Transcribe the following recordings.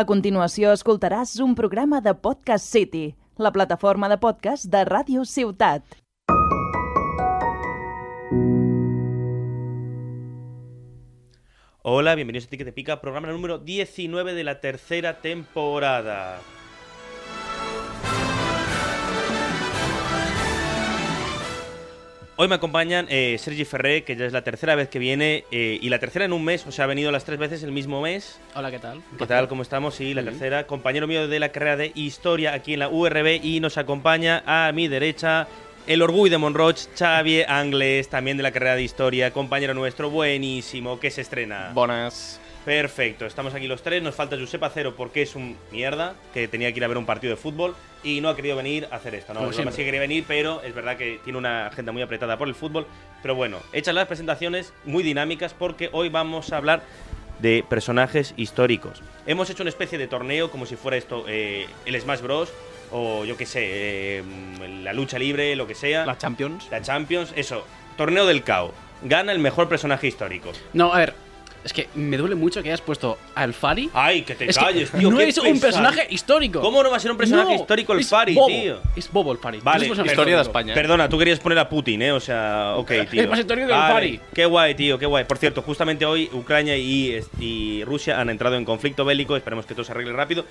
A continuació escoltaràs un programa de Podcast City, la plataforma de podcast de Ràdio Ciutat. Hola, bienvenidos a Ti que te pica, programa número 19 de la tercera temporada. Hoy me acompañan eh, Sergi Ferré, que ya es la tercera vez que viene, eh, y la tercera en un mes, o sea, ha venido las tres veces el mismo mes. Hola, ¿qué tal? ¿Qué tal? ¿Cómo estamos? Sí, la tercera. Compañero mío de la carrera de Historia aquí en la URB y nos acompaña a mi derecha el orgullo de Monroch, Xavier Angles, también de la carrera de Historia, compañero nuestro, buenísimo, que se estrena. Buenas. Perfecto, estamos aquí los tres. Nos falta Josep Acero porque es un mierda que tenía que ir a ver un partido de fútbol y no ha querido venir a hacer esto. No, Como El broma siempre. sí que quería venir, pero es verdad que tiene una agenda muy apretada por el fútbol. Pero bueno, hechas las presentaciones muy dinámicas porque hoy vamos a hablar de personajes históricos. Hemos hecho una especie de torneo como si fuera esto eh, el Smash Bros. O yo qué sé, eh, la lucha libre, lo que sea. ¿Las Champions? La Champions, eso. Torneo del caos. Gana el mejor personaje histórico. No, a ver, es que me duele mucho que hayas puesto al Fari. Ay, que Ah, te es que calles, tío. no qué es un pesado. personaje histórico. ¿Cómo no va a ser un personaje No, histórico el es Fari, bobo. tío? Es bobo el Fari. Vale, No es un personaje historia histórico. de España. Perdona, tú querías poner a Putin, ¿eh? O sea, ok, tío. Es más histórico que el Vale, Fari. Qué guay, tío, qué guay. Por cierto, justamente hoy Ucrania y, y Rusia han entrado en conflicto bélico. Esperemos que todo se arregle rápido.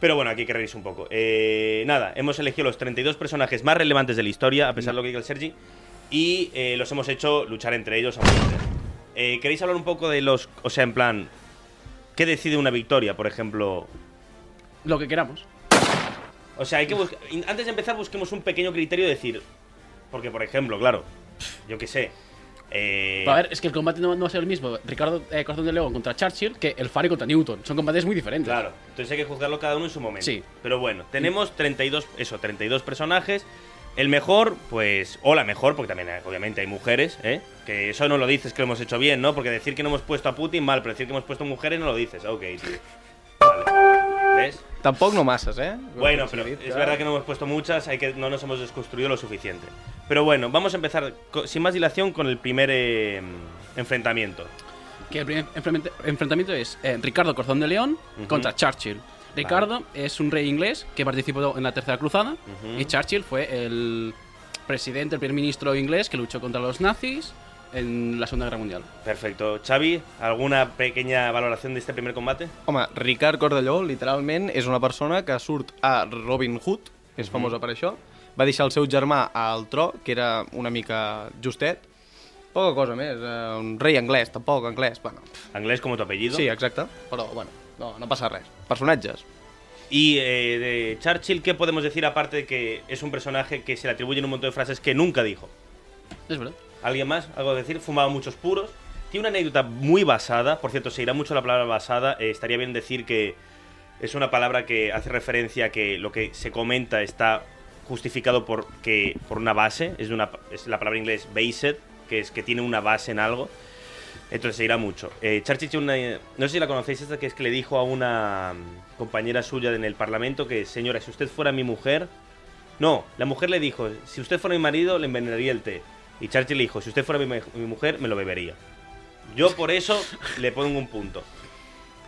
Pero bueno, aquí hay que reírse un poco. Eh, nada, hemos elegido los 32 personajes más relevantes de la historia, a pesar de lo que diga el Sergi, y eh, los hemos hecho luchar entre ellos a muerte. Eh, ¿Queréis hablar un poco de los. O sea, en plan. ¿Qué decide una victoria, por ejemplo? Lo que queramos. O sea, hay que buscar. Antes de empezar, busquemos un pequeño criterio de decir. Porque, por ejemplo, claro, yo qué sé. eh, Pero a ver, es que el combate no, no va a ser el mismo. Ricardo eh, Corazón de León contra Churchill que el Fari contra Newton. Son combates muy diferentes. Claro, entonces hay que juzgarlo cada uno en su momento. Sí. Pero bueno, tenemos 32, eso, 32 personajes. El mejor, pues, o la mejor, porque también eh, obviamente hay mujeres, ¿eh? Que eso no lo dices que lo hemos hecho bien, ¿no? Porque decir que no hemos puesto a Putin mal, pero decir que hemos puesto mujeres no lo dices. Ok, tío. Vale. ¿Ves? Tampoco no masas, ¿eh? Bueno, pero es verdad que no hemos puesto muchas, hay que no nos hemos desconstruido lo suficiente. Pero bueno, vamos a empezar co- sin más dilación con el primer eh, enfrentamiento. Que el primer enfrente- enfrentamiento es eh, Ricardo Corazón de León Ujú. contra Churchill. Ricardo es un rey inglés que participó en la Tercera Cruzada Ujú. y Churchill fue el presidente, el primer ministro inglés que luchó contra los nazis en la Segunda Guerra Mundial. Perfecto. Xavi, ¿alguna pequeña valoración de este primer combate? Home, Ricard Cordelló, literalment, és una persona que surt a Robin Hood, Mhm. és famosa per això, va deixar el seu germà al tro, que era una mica justet, poca cosa més, eh, un rei anglès, tampoc anglès, bueno, Anglès como tu apellido. sí, exacte, però bueno, no, no passa res. Personatges. Y eh, de Churchill, ¿qué podemos decir aparte de que es un personaje que se le atribuyen un montón de frases que nunca dijo? Es verdad. ¿Alguien más? ¿Algo que decir? Fumaba muchos puros. Tiene una anécdota muy basada. Por cierto, se irá mucho la palabra basada. eh, estaría bien decir que es una palabra que hace referencia a que lo que se comenta está justificado por, que, por una base. Es, de una, es la palabra en inglés based, que es que tiene una base en algo. Entonces se irá mucho. Eh, Churchill tiene una. No sé si la conocéis, esta que es que le dijo a una mm, compañera suya en el Parlamento que, señora, si usted fuera mi mujer. No, la mujer le dijo, si usted fuera mi marido, le envenenaría el té. Y Churchill le dijo, si usted fuera mi, me- mi mujer, me lo bebería. Yo por eso le pongo un punto.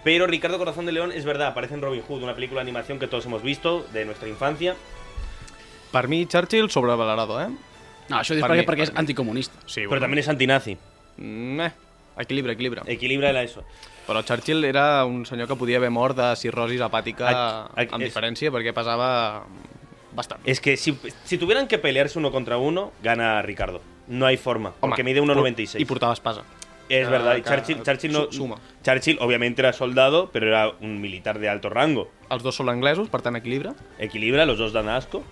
Pero Ricardo Corazón de León es verdad, aparece en Robin Hood, una película de animación que todos hemos visto de nuestra infancia. Per mi, Churchill, sobrevalorado, eh? No, eso es Para porque, mí- porque es para mí. anticomunista. Sí, Pero también es antinazi. Mm, eh, equilibra, equilibra. Equilibra eso. Però Churchill era un senyor que podia haver mort de cirrosis hepàtica Ac- ac- amb és- diferència perquè pesava bastant. Es que si, si tuvieran que pelearse uno contra uno, gana Ricardo. No hay forma. Home, Porque mide I 1,96. portava espasa. Es Ah, verdad, y claro, Churchill, Churchill no- su- suma. Churchill obviamente era soldado, pero era un militar de alto rango. Els dos són anglesos, per tant, equilibra. Equilibra, los dos dan asco.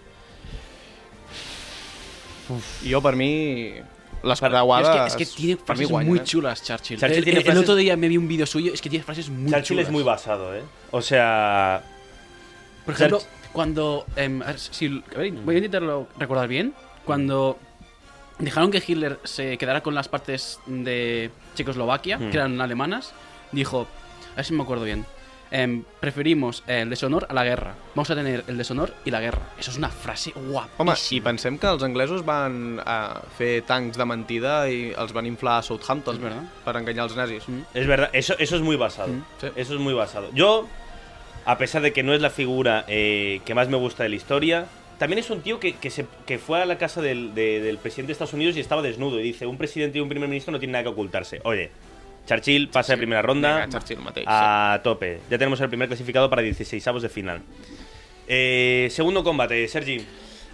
I jo, per mi, les Per- creuades... es que, es que tiene per mi frases guanyen, muy eh? chulas, Churchill. Churchill el, tiene el frases- otro día me vi un vídeo suyo, es que tiene frases muy Churchill chulas. es muy basado, ¿eh? O sea, Por ejemplo, Church- cuando. em, a ver, si- a ver, voy a intentarlo recordar bien. Cuando dejaron que Hitler se quedara con las partes de Checoslovaquia, Hmm. que eran alemanas, dijo: A ver si me acuerdo bien. em, preferimos el deshonor a la guerra. Vamos a tener el deshonor y la guerra. Eso es una frase Home, guapísima. i pensem que els anglesos van a fer tancs de mentida i els van inflar a Southampton És verdad. per enganyar els nazis. Mm. es verdad, eso, eso es muy basado. Mm, sí. Eso es muy basado. Yo, a pesar de que no es la figura eh, que más me gusta de la historia. También es un tío que, que se, que fue a la casa del, de- del presidente de Estados Unidos y estaba desnudo. Y dice, un presidente y un primer ministro no tienen nada que ocultarse. Oye, Churchill pasa de primera ronda Vinga, Churchill mateix. a tope. Ya tenemos el primer clasificado para 16 avos de final. Eh, segundo combate, Sergi.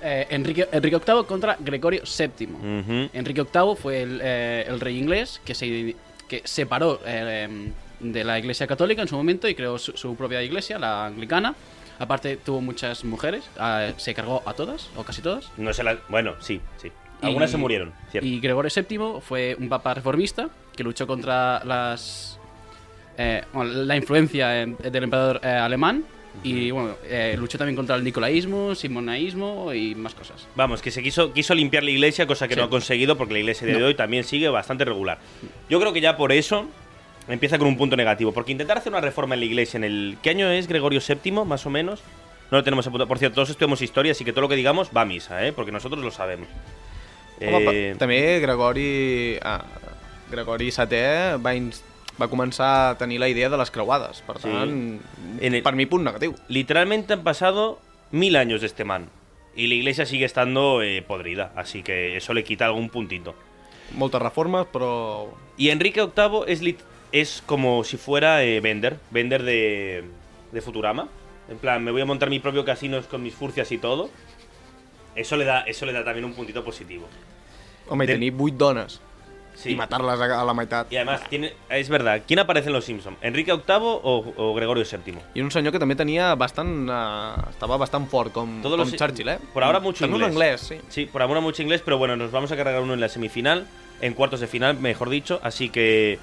Eh, Enrique, Enrique VIII contra Gregorio VII. Ujú. Enrique VIII fue el, eh, el rey inglés que se que separó eh, em, de la Iglesia Católica en su momento y creó su, su propia iglesia, la anglicana. Aparte tuvo muchas mujeres, ah, se cargó a todas o casi todas. No se la... Bueno, sí, sí. Algunas Y- se murieron, cierto. Y Gregorio VII fue un papa reformista que luchó contra las eh, bueno, la influencia eh, del emperador eh, alemán y bueno, eh, luchó también contra el nicolaísmo, simonaísmo y más cosas. Vamos, que se quiso, quiso limpiar la iglesia, cosa que Sí. no ha conseguido porque la iglesia de No. hoy también sigue bastante regular. Yo creo que ya por eso empieza con un punto negativo, porque intentar hacer una reforma en la iglesia en el... ¿Qué año es Gregorio VII, más o menos? No lo tenemos apuntado. Por cierto, todos estudiamos historia, así que todo lo que digamos va a misa, ¿eh? Porque nosotros lo sabemos. Home, Eh, pa- també Gregori... Ah, Gregori VII va, ins- va començar a tenir la idea de les creuades. Per Sí. tant, En el- per mi, punt negatiu. Literalmente han pasado mil años de este man. Y la iglesia sigue estando eh, podrida, así que eso le quita algún puntito. Moltes reformes, però... Y Enrique VIII es, lit- es como si fuera eh, Bender, Bender de, de Futurama. En plan, me voy a montar mi propio casino con mis furcias y todo. Eso le da, eso le da también un puntito positivo. Home, i Del- tenir vuit dones Sí. i matar-les a, a la meitat. Y además, tiene, es verdad, ¿quién aparece en Los Simpsons? ¿Enrique VIII o, o Gregorio VII? I un senyor que també tenia bastant... eh, estava bastant fort, com, Todos com los- Churchill, eh? por ahora mucho També un inglés. anglès, sí. Sí, por amor a mucho inglés, pero bueno, nos vamos a cargar uno en la semifinal, en cuartos de final, mejor dicho, así que...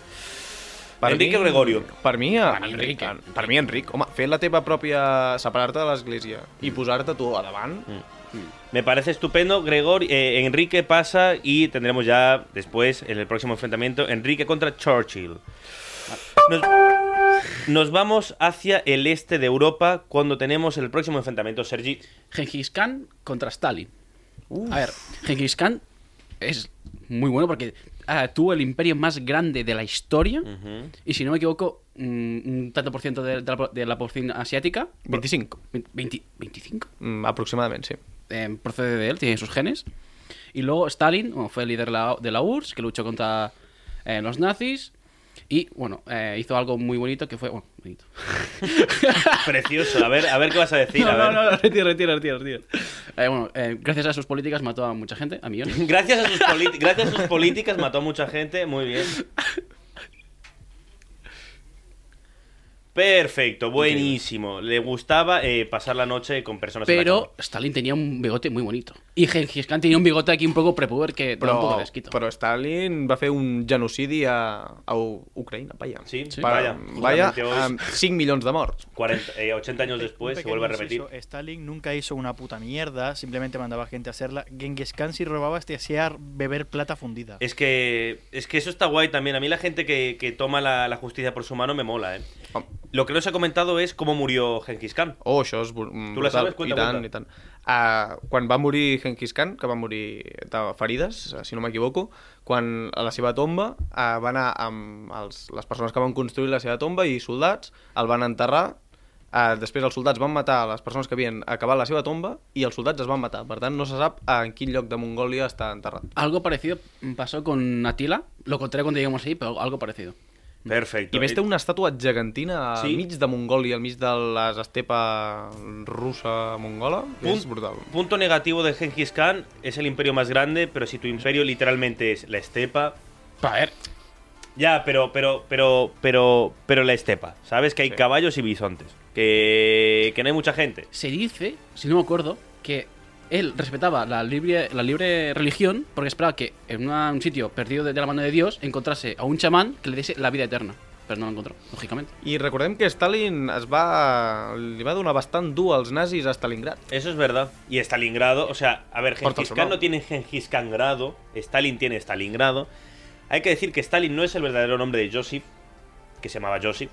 Enrique Gregorio. Per mi, Per mi, Enric. Enric. Per mi, Enric. Home, fer la teva pròpia... Separar-te de l'església i posar-te tu a davant... Me parece estupendo, Gregor, eh, Enrique pasa y tendremos ya después, en el próximo enfrentamiento, Enrique contra Churchill. Nos, nos vamos hacia el este de Europa cuando tenemos el próximo enfrentamiento, Sergi. Genghis Khan contra Stalin. A ver, Genghis Khan es muy bueno porque ah, tuvo el imperio más grande de la historia y si no me equivoco, mm, un tanto por ciento de, de la, po- de la población asiática, 25. vein- 20 25, Mm, aproximadament, sí. eh, procede de él, tiene sus genes. Y luego Stalin bueno, fue el líder de la, de la URSS que luchó contra eh, los nazis. Y bueno, eh, hizo algo muy bonito que fue. Bueno, bonito. Precioso, a ver, a ver qué vas a decir. no, a no, ver. no, retiro, retiro, retiro, retiro. Eh, bueno, eh, gracias a sus políticas mató a mucha gente, a millones. Gracias a, sus polit- gracias a sus políticas mató a mucha gente, muy bien. Perfecto, buenísimo. Le gustaba eh, pasar la noche con personas en la Pero cama. Stalin tenía un bigote muy bonito. Y Gengis Khan tenía un bigote aquí un poco prepuber que da un poco Però, de asquito. però Stalin va fer un genocidi a, a U- Ucraïna, vaja. Sí, Sí. vaya. Vaja, justamente hoy. amb 5 milions de morts. 40, eh, 80 años después Un se vuelve a pequeño repetir. inciso, Stalin nunca hizo una puta mierda, simplemente mandaba gente a hacerla. Genghis Khan si robaba te hacía beber plata fundida. Es que, es que eso está guay también. A mí la gente que, que toma la, la justicia por su mano me mola, ¿eh? Hom- Lo que no se ha comentado es cómo murió Genghis Khan. Oh, això és... br- mm, Tu la brutal. sabes? Cuenta, I tant, cuenta. i tant. Uh, quan va morir Genghis Khan, que va morir de ferides, eh, si no m'equivoco, quan a la seva tomba uh, va anar amb els, les persones que van construir la seva tomba i soldats, el van enterrar, uh, després els soldats van matar les persones que havien acabat la seva tomba i els soldats es van matar. Per tant, no se sap en quin lloc de Mongòlia està enterrat. Algo parecido pasó con Atila. Lo contaré cuando lleguemos ahí, pero algo parecido. Perfecto. I a més té una estàtua gegantina al Sí. mig de Mongòlia, al mig de les estepa russa mongola. Pun- És brutal. Punto negativo de Genghis Khan es el imperio más grande, pero si tu imperio literalmente es la estepa. A ver, Ya, pero, pero, pero, pero, pero la estepa. Sabes que hay Sí. caballos y bisontes. Que, que no hay mucha gente. se dice, si no me acuerdo, que él respetaba la libre, la libre religión porque esperaba que en una- un sitio perdido de, de la mano de Dios encontrase a un chamán que le diese la vida eterna. Pero no lo encontró, lógicamente. I recordem que Stalin es va... li va donar bastant dur als nazis a Stalingrad. Eso es verdad. Y Stalingrado, o sea, a ver, Porta el Gengis Khan soldado. no tiene Gengis Khan grado, Stalin tiene Stalingrado. Hay que decir que Stalin no es el verdadero nombre de Joseph, que se llamaba Joseph.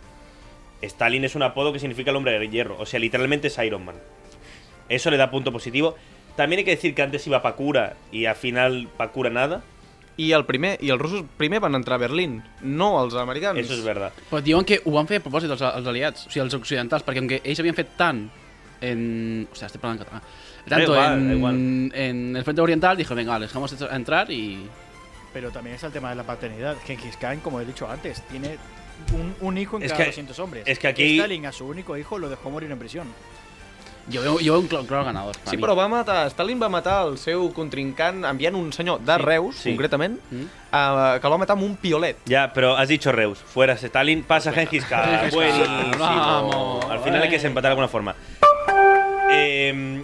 Stalin es un apodo que significa el hombre de hierro, o sea, literalmente es Iron Man. Eso le da punto positivo. También hay que decir que antes iba Pakura y al final Pakura nada. i el primer i els russos primer van entrar a Berlín, no els americans. Eso es verdad. Però diuen que ho van fer a propòsit els, els aliats, o sigui, els occidentals, perquè com que ells havien fet tant en... Hòstia, estic parlant en català. Tanto igual, da igual. en, en el frente oriental, dijo, venga, les dejamos entrar y... Pero también está el tema de la paternidad. Genghis Khan, como he dicho antes, tiene un, un hijo en Es cada que- 200 hombres. es que aquí- Stalin a su único hijo lo dejó morir en prisión. Yo veo, yo veo un cl- claro ganador. para Sí, mí. però va matar, Stalin va matar el seu contrincant enviant un senyor de Sí, Reus, sí. concretament, Mm. eh, que el va matar amb un piolet. Ya, pero has dicho Reus, fuera Stalin, pasa Gengis Khan. Gengis Khan, Buenísimo. vamos, Al final hay que eh. desempatar de alguna forma. Eh,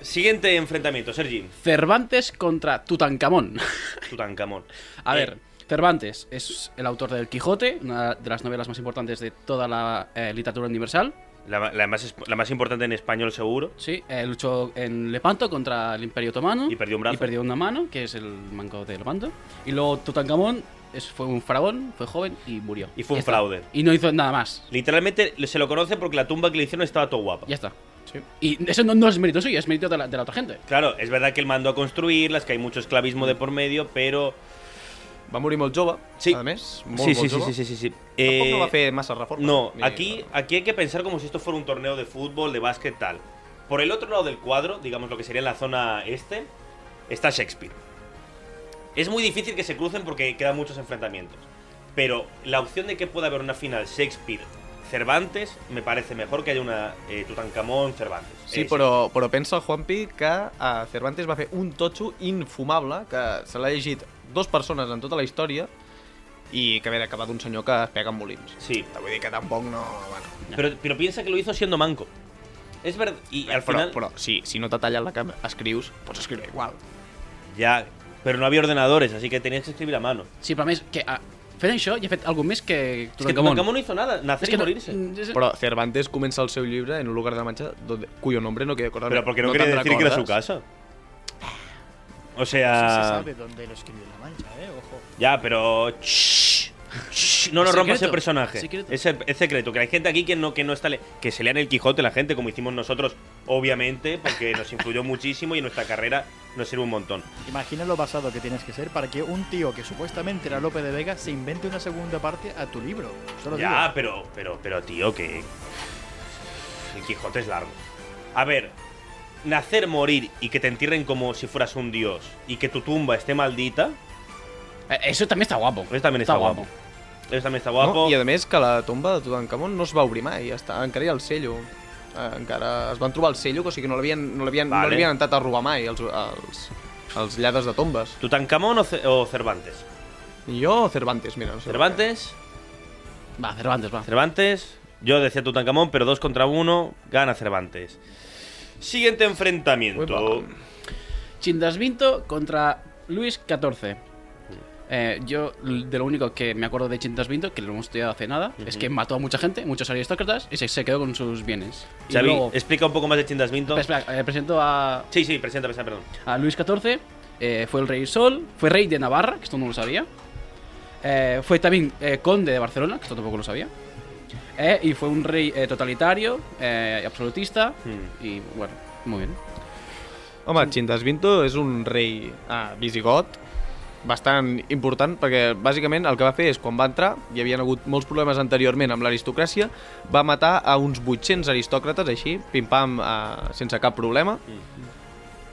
siguiente enfrentamiento, Sergi. Cervantes contra Tutankamón. Tutankamón. A Eh, ver, Cervantes es el autor del Quijote, una de las novelas más importantes de toda la eh, literatura universal. La, la más, la más importante en español, seguro. Sí, eh, luchó en Lepanto contra el Imperio Otomano. Y perdió un brazo. Y perdió una mano, que es el manco de Lepanto. Y luego Tutankamón es- fue un faraón, fue joven y murió. Y fue un Ya está. fraude. Y no hizo nada más. Literalmente se lo conoce porque la tumba que le hicieron estaba todo guapa. Ya está. Y eso no, no es mérito suyo, es mérito de la, de la otra gente. Claro, es verdad que él mandó a construirlas, que hay mucho esclavismo de por medio, pero. Va morir molt jove, Sí. a més, molt, Sí, molt sí, sí, jove. sí, sí, sí, sí. Tampoc Eh, no va fer massa reformes. No, Ni- aquí, aquí hay que pensar como si esto fuera un torneo de fútbol, de básquet, tal. Por el otro lado del cuadro, digamos lo que sería la zona este, está Shakespeare. Es muy difícil que se crucen porque quedan muchos enfrentamientos. Pero la opción de que pueda haber una final Shakespeare-Cervantes me parece mejor que haya una eh, Tutankamón-Cervantes. Sí, Eh, però, però pensa, Juanpi, que eh, Cervantes va fer un totxo infumable que se l'ha llegit dos persones en tota la història i que ve d'acabar d'un senyor que es pega amb molins. Sí, Vull dir que tampoc no... Bueno, pero, pero piensa que lo hizo siendo manco. Es verdad. Y al però, final. però sí, si no te tallen la que escrius, pots escriure igual. Ya, pero no había ordenadores, así que tenías que escribir a mano. Sí, para mí es que. Ah, fent això, ja ha fet algun més Es que que Tutankamón no hizo nada, nacer y no- morirse. mm, és- Però Cervantes comença el seu llibre en un lugar de mancha donde, cuyo nombre no queda acordado. Pero porque no, quería te'n decir que era su recordes? casa. O Sí se sea. sabe dónde lo escribió La Mancha, ¿eh? Ojo. ya, pero. Shh, shh, no nos Es rompas el secreto, personaje. es secreto. Es, el- es secreto. Que hay gente aquí que no, que no está. le- que se lean el Quijote la gente, como hicimos nosotros, obviamente, porque nos influyó muchísimo y en nuestra carrera nos sirve un montón. Imagina lo basado que tienes que ser para que un tío que supuestamente era Lope de Vega se invente una segunda parte a tu libro. Solo Ya, digo. pero, pero, pero, tío, que. El Quijote es largo. A ver, nacer, morir y que te entierren como si fueras un dios y que tu tumba esté maldita, Eh, Eso también está guapo. Eso también está guapo. eso también está guapo. No? I a més que la tomba de Tutankamon no es va obrir mai, ja està, encara hi ha el cello. Eh, encara es van trobar el cello, o sigui que no l'havien no l'havien Vale. no l'havien entrat a robar mai els, els, els lladres de tombes. ¿Tutankamón o, Ce- o Cervantes? Jo Cervantes, mira. No sé Cervantes, Va, Cervantes, va. Cervantes. Yo decía Tutankamón, pero dos contra uno, gana Cervantes. Siguiente enfrentamiento. Uepa. Chindasvinto contra Luis XIV. Eh, yo l- de lo único que me acuerdo de Chindasvinto, que lo hemos estudiado hace nada, es que mató a mucha gente, muchos aristócratas, y se, se quedó con sus bienes. Y Xavi, luego- explica un poco más de Chindasminto. espera, espera, eh, presento a, Sí, sí, presenta, presenta, perdón. a Luis XIV, eh, fue el rey Sol, fue rey de Navarra, que esto no lo sabía, eh, fue también eh, conde de Barcelona, que esto tampoco lo sabía, eh, y fue un rey eh, totalitario, eh, absolutista, Hmm. y bueno, muy bien. Home, Chindasvinto és un rei ah, visigot bastant important perquè bàsicament el que va fer és quan va entrar hi havien hagut molts problemes anteriorment amb l'aristocràcia va matar a uns 800 aristòcrates així, pim-pam eh, sense cap problema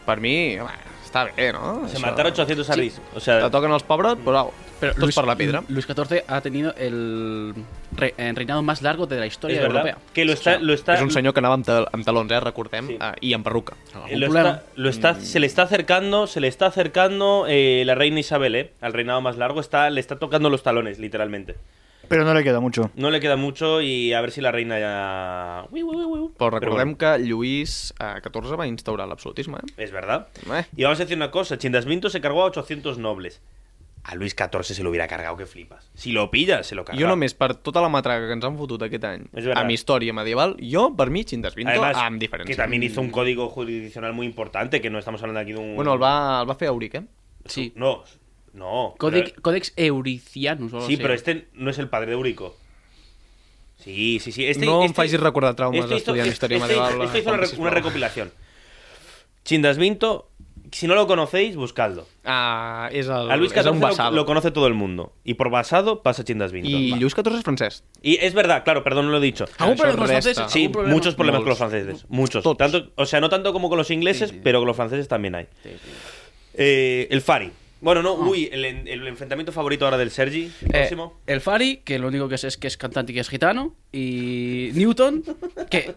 per mi, home, està bé, no? Se Això. mataron 800 a Riz. O Te sea, toquen els pebrots, però au, Pero tots per la pedra. Luis XIV ha tenido el re- eh, reinado más largo de la historia es verdad. europea. Que lo O está, sea, lo está, És un senyor que anava amb, tal amb talons, eh, recordem, Sí. sí. eh, i amb perruca. lo algún está- problema. lo está- se le está acercando, se le está acercando eh, la reina Isabel, eh, al reinado más largo, está, le está tocando los talones, literalmente. Pero no le queda mucho. No le queda mucho y a ver si la reina ya. Uy, uy, uy, uy. Però Pero Pues recordem bueno, que Lluís eh, XIV va instaurar l'absolutisme, eh? es verdad. Eh. Y vamos a decir una cosa: Chindasminto se cargó a 800 nobles. A Luis XIV se lo hubiera cargado, que flipas. Si lo pillas, se lo carga. Jo només per tota la matraca que ens han fotut aquest any És veritat. amb història medieval, jo per mi Chindasvinto Además, amb que diferència. también hizo un código jurisdiccional muy importante, que no estamos hablando aquí de un. Bueno, el va, el va fer Euric, eh? Sí. No, no. Códex, pero- eh, Códex Euricianus. o algo Sí, así. pero este no es el padre de Eurico. Sí, sí, sí. Este, No em este- facis recordar traumes este hizo- estudiant història este- medieval, Este hizo una, Juan, re- una sisplau. recopilación. Chindasvinto Si no lo conocéis, buscadlo. Ah, és el, A Luis és XIV un lo, basado. lo conoce todo el mundo. Y por basado pasa Chindas Vinton. I Va. Lluís XIV és francès. Y es verdad, claro, perdón, no lo he dicho. ¿Algún Eso problema con los resta. franceses? Sí, ¿Algún Ah, problema? muchos este problemas con los Molts. franceses. Muchos. Tots. Tanto, o sea, no tanto como con los ingleses, pero con los franceses también hay. Eh, el Fari. Bueno, no, uy, el, en- el enfrentamiento favorito ahora del Sergi. El Ah. Eh, próximo. el Fari, que lo único que sé es que es cantante y que es gitano. Y Newton, que,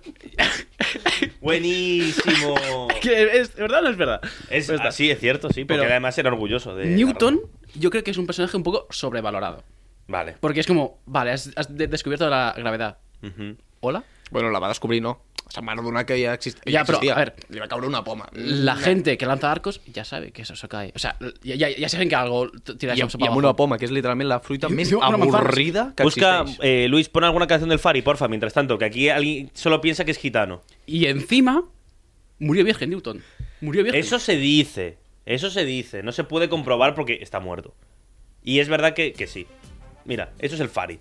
Buenísimo. que es verdad o no es verdad. es, Pues está. así, es cierto, sí, porque Pero- además era orgulloso de. Newton, yo creo que es un personaje un poco sobrevalorado. Vale. Porque es como, vale, has, has de- descubierto la gravedad. Ujú. ¿Hola? Bueno, la va descobrir, no. Se'n va adonar que ja, exist... Ja, ja, però, existia. a ver. Li va caure una poma. Mm. La gente que lanza arcos ya sabe que eso se cae. O sea, ya, ya- ya saben que algo t- tira I, eso amb- I para amb abajo. una poma, que és literalment la fruita I- més i una manzana. avorrida que Busca, existeix. eh, Luis, pon alguna canción del Fari, porfa, mientras tanto, que aquí alguien solo piensa que es gitano. Y encima, murió virgen Newton. Murió virgen. Eso se dice, eso se dice, no se puede comprobar porque está muerto. Y es verdad que, que sí. Mira, eso es el Fari.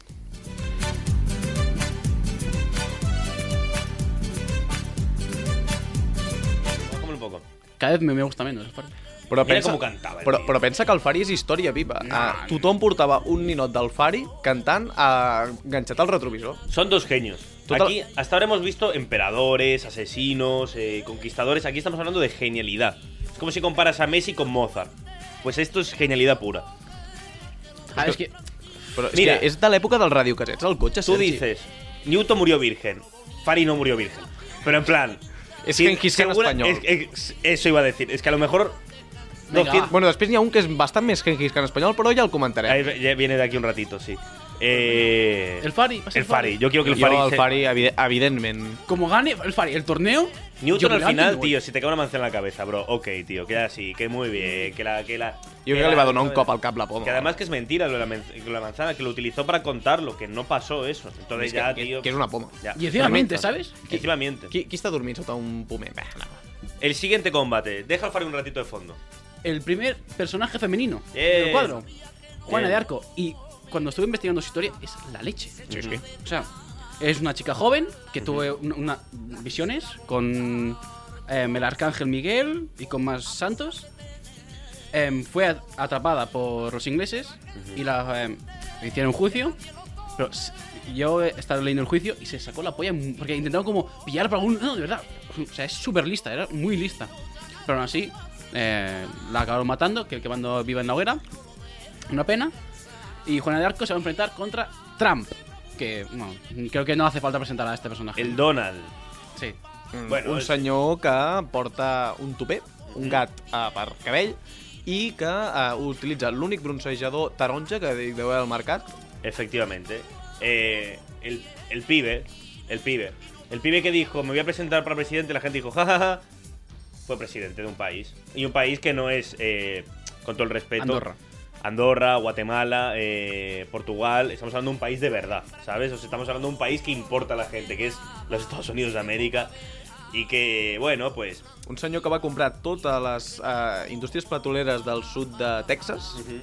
Bájame un poco. Cada vez me, me gusta menos. aparte. Però Mira com ho cantava, el però, tio. però pensa que el Fari és història viva. Ah, tothom portava un ninot del Fari cantant ah, enganxat al retrovisor. Son dos genios. Total- Aquí hasta ahora hemos visto emperadores, asesinos, eh, conquistadores. Aquí estamos hablando de genialidad. Es como si comparas a Messi con Mozart. Pues esto es genialidad pura. Ah, es que Però és, Mira. que és de l'època del radiocasets, el cotxe. Tú Sergi. dices, Newton murió virgen, Fari no murió virgen. Pero en plan. Es si- Gengis Khan segura- español. es- es- eso iba a decir. Es que a lo mejor. Venga, 200 Bueno, després n'hi ha un que és bastant més Gengis Khan espanyol, però ja el comentarem. Ahí ya viene de aquí un ratito, sí. Eh, el Fari. va a ser el Fari. Yo quiero que Jo, el Fari. el se- Fari, evide evidentment. Como gane el Fari el torneo. Newton yo al me levanto y me final, voy. tío, si te cae una manzana en la cabeza, bro. Ok, tío, queda así, que muy bien, que la. Que la Jo crec la- que li va donar un cop al cap la poma. Que además que es mentira lo de la, men- la manzana, que lo utilizó para contarlo, que no pasó eso. Entonces És ya, que, tío. que, que és una poma. ya. Y encima miente, Tremendo. ¿sabes? Y encima miente. Qui, qui està dormint sota un pomer? Bah, no. El siguiente combate. Deja al Fari un ratito de fondo. El primer personaje femenino Bien. Eh. del cuadro. Juana Bien. de Arco. Y cuando estuve investigando su historia, es la leche. Sí, sí. O sea, es una chica joven que tuvo una- una- visiones con em, el arcángel Miguel y con más santos. Em, fue at- atrapada por los ingleses y la em, le hicieron juicio. Pero s- yo he estado leyendo el juicio y se sacó la polla mu- porque intentaron como pillar para algún. No, de verdad. O sea, es súper lista, era muy lista. Pero aún así, eh, la acabaron matando, que quemando viva en la hoguera. Una pena. Y Juana de Arco se va a enfrentar contra Trump. Que, bueno, creo que no hace falta presentar a este personaje. El Donald. Sí. Bueno, Bueno, Mm, un és- senyor que porta un tupé, un gat eh, per cabell, i que eh, utilitza l'únic broncejador taronja que hi deu haver al mercat. Efectivamente. Eh, el, el pibe, el pibe, el pibe que dijo, me voy a presentar para presidente, la gente dijo, jajaja, fue presidente de un país. Y un país que no es, eh, con todo el respeto, Andorra. Andorra, Guatemala, eh, Portugal, estamos hablando de un país de verdad, ¿sabes? O sea, estamos hablando de un país que importa a la gente, que es los Estados Unidos de América. Y que, bueno, pues... Un senyor que va comprar totes les eh, indústries petroleres del sud de Texas Mhm.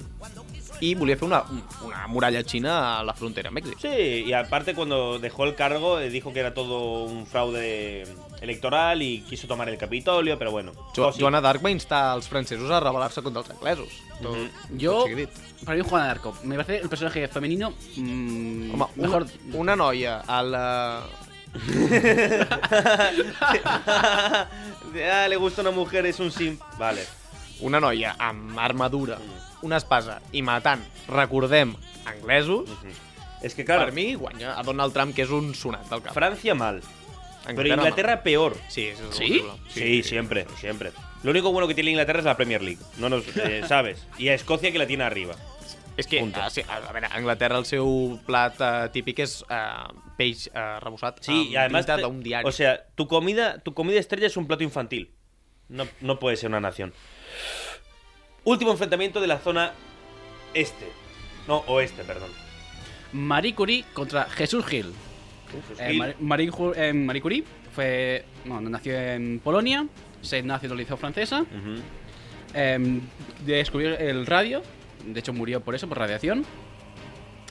i volia fer una, una muralla xina a la frontera amb Mèxic. Sí, y aparte cuando dejó el cargo eh, dijo que era todo un fraude electoral y quiso tomar el Capitolio, pero bueno. Jo, cosas. Joana d'Arc va instar els francesos a rebel·lar-se contra els anglesos. Tot, Mhm. Yo, tot sigui dit. para mí, Juana de Arco. Me parece el personaje femenino mm, Home, una, mejor. una noia a la... ah, le gusta una mujer, es un simp. Vale. Una noia amb armadura, Mhm. una espasa i matant, recordem, anglesos, Mhm. Es que claro, per mi guanya a Donald Trump, que és un sonat del cap. Francia mal, pero no. Inglaterra peor. Sí, és és Sí? horrible. Sí, siempre, siempre. Lo único bueno que tiene Inglaterra es la Premier League, no nos eh, sabes. Y a Escocia que la tiene arriba. És que, Punto. a, sí, a, a veure, a Anglaterra el seu plat eh, típic és eh, peix eh, rebossat Sí, amb y además tinta te- d'un diari. o sea, tu comida, tu comida estrella es un plato infantil. No, no puede ser una nación. Último enfrentamiento de la zona este. No, oeste, perdón. Marie Curie contra Jesús Gil. Jesús Eh, Gil. Mar- Marie, Ju- eh, Marie Curie fue, bueno, nació en Polonia, se nacionalizó francesa, Ujú. eh, descubrió el radio, de hecho murió por eso, por radiación.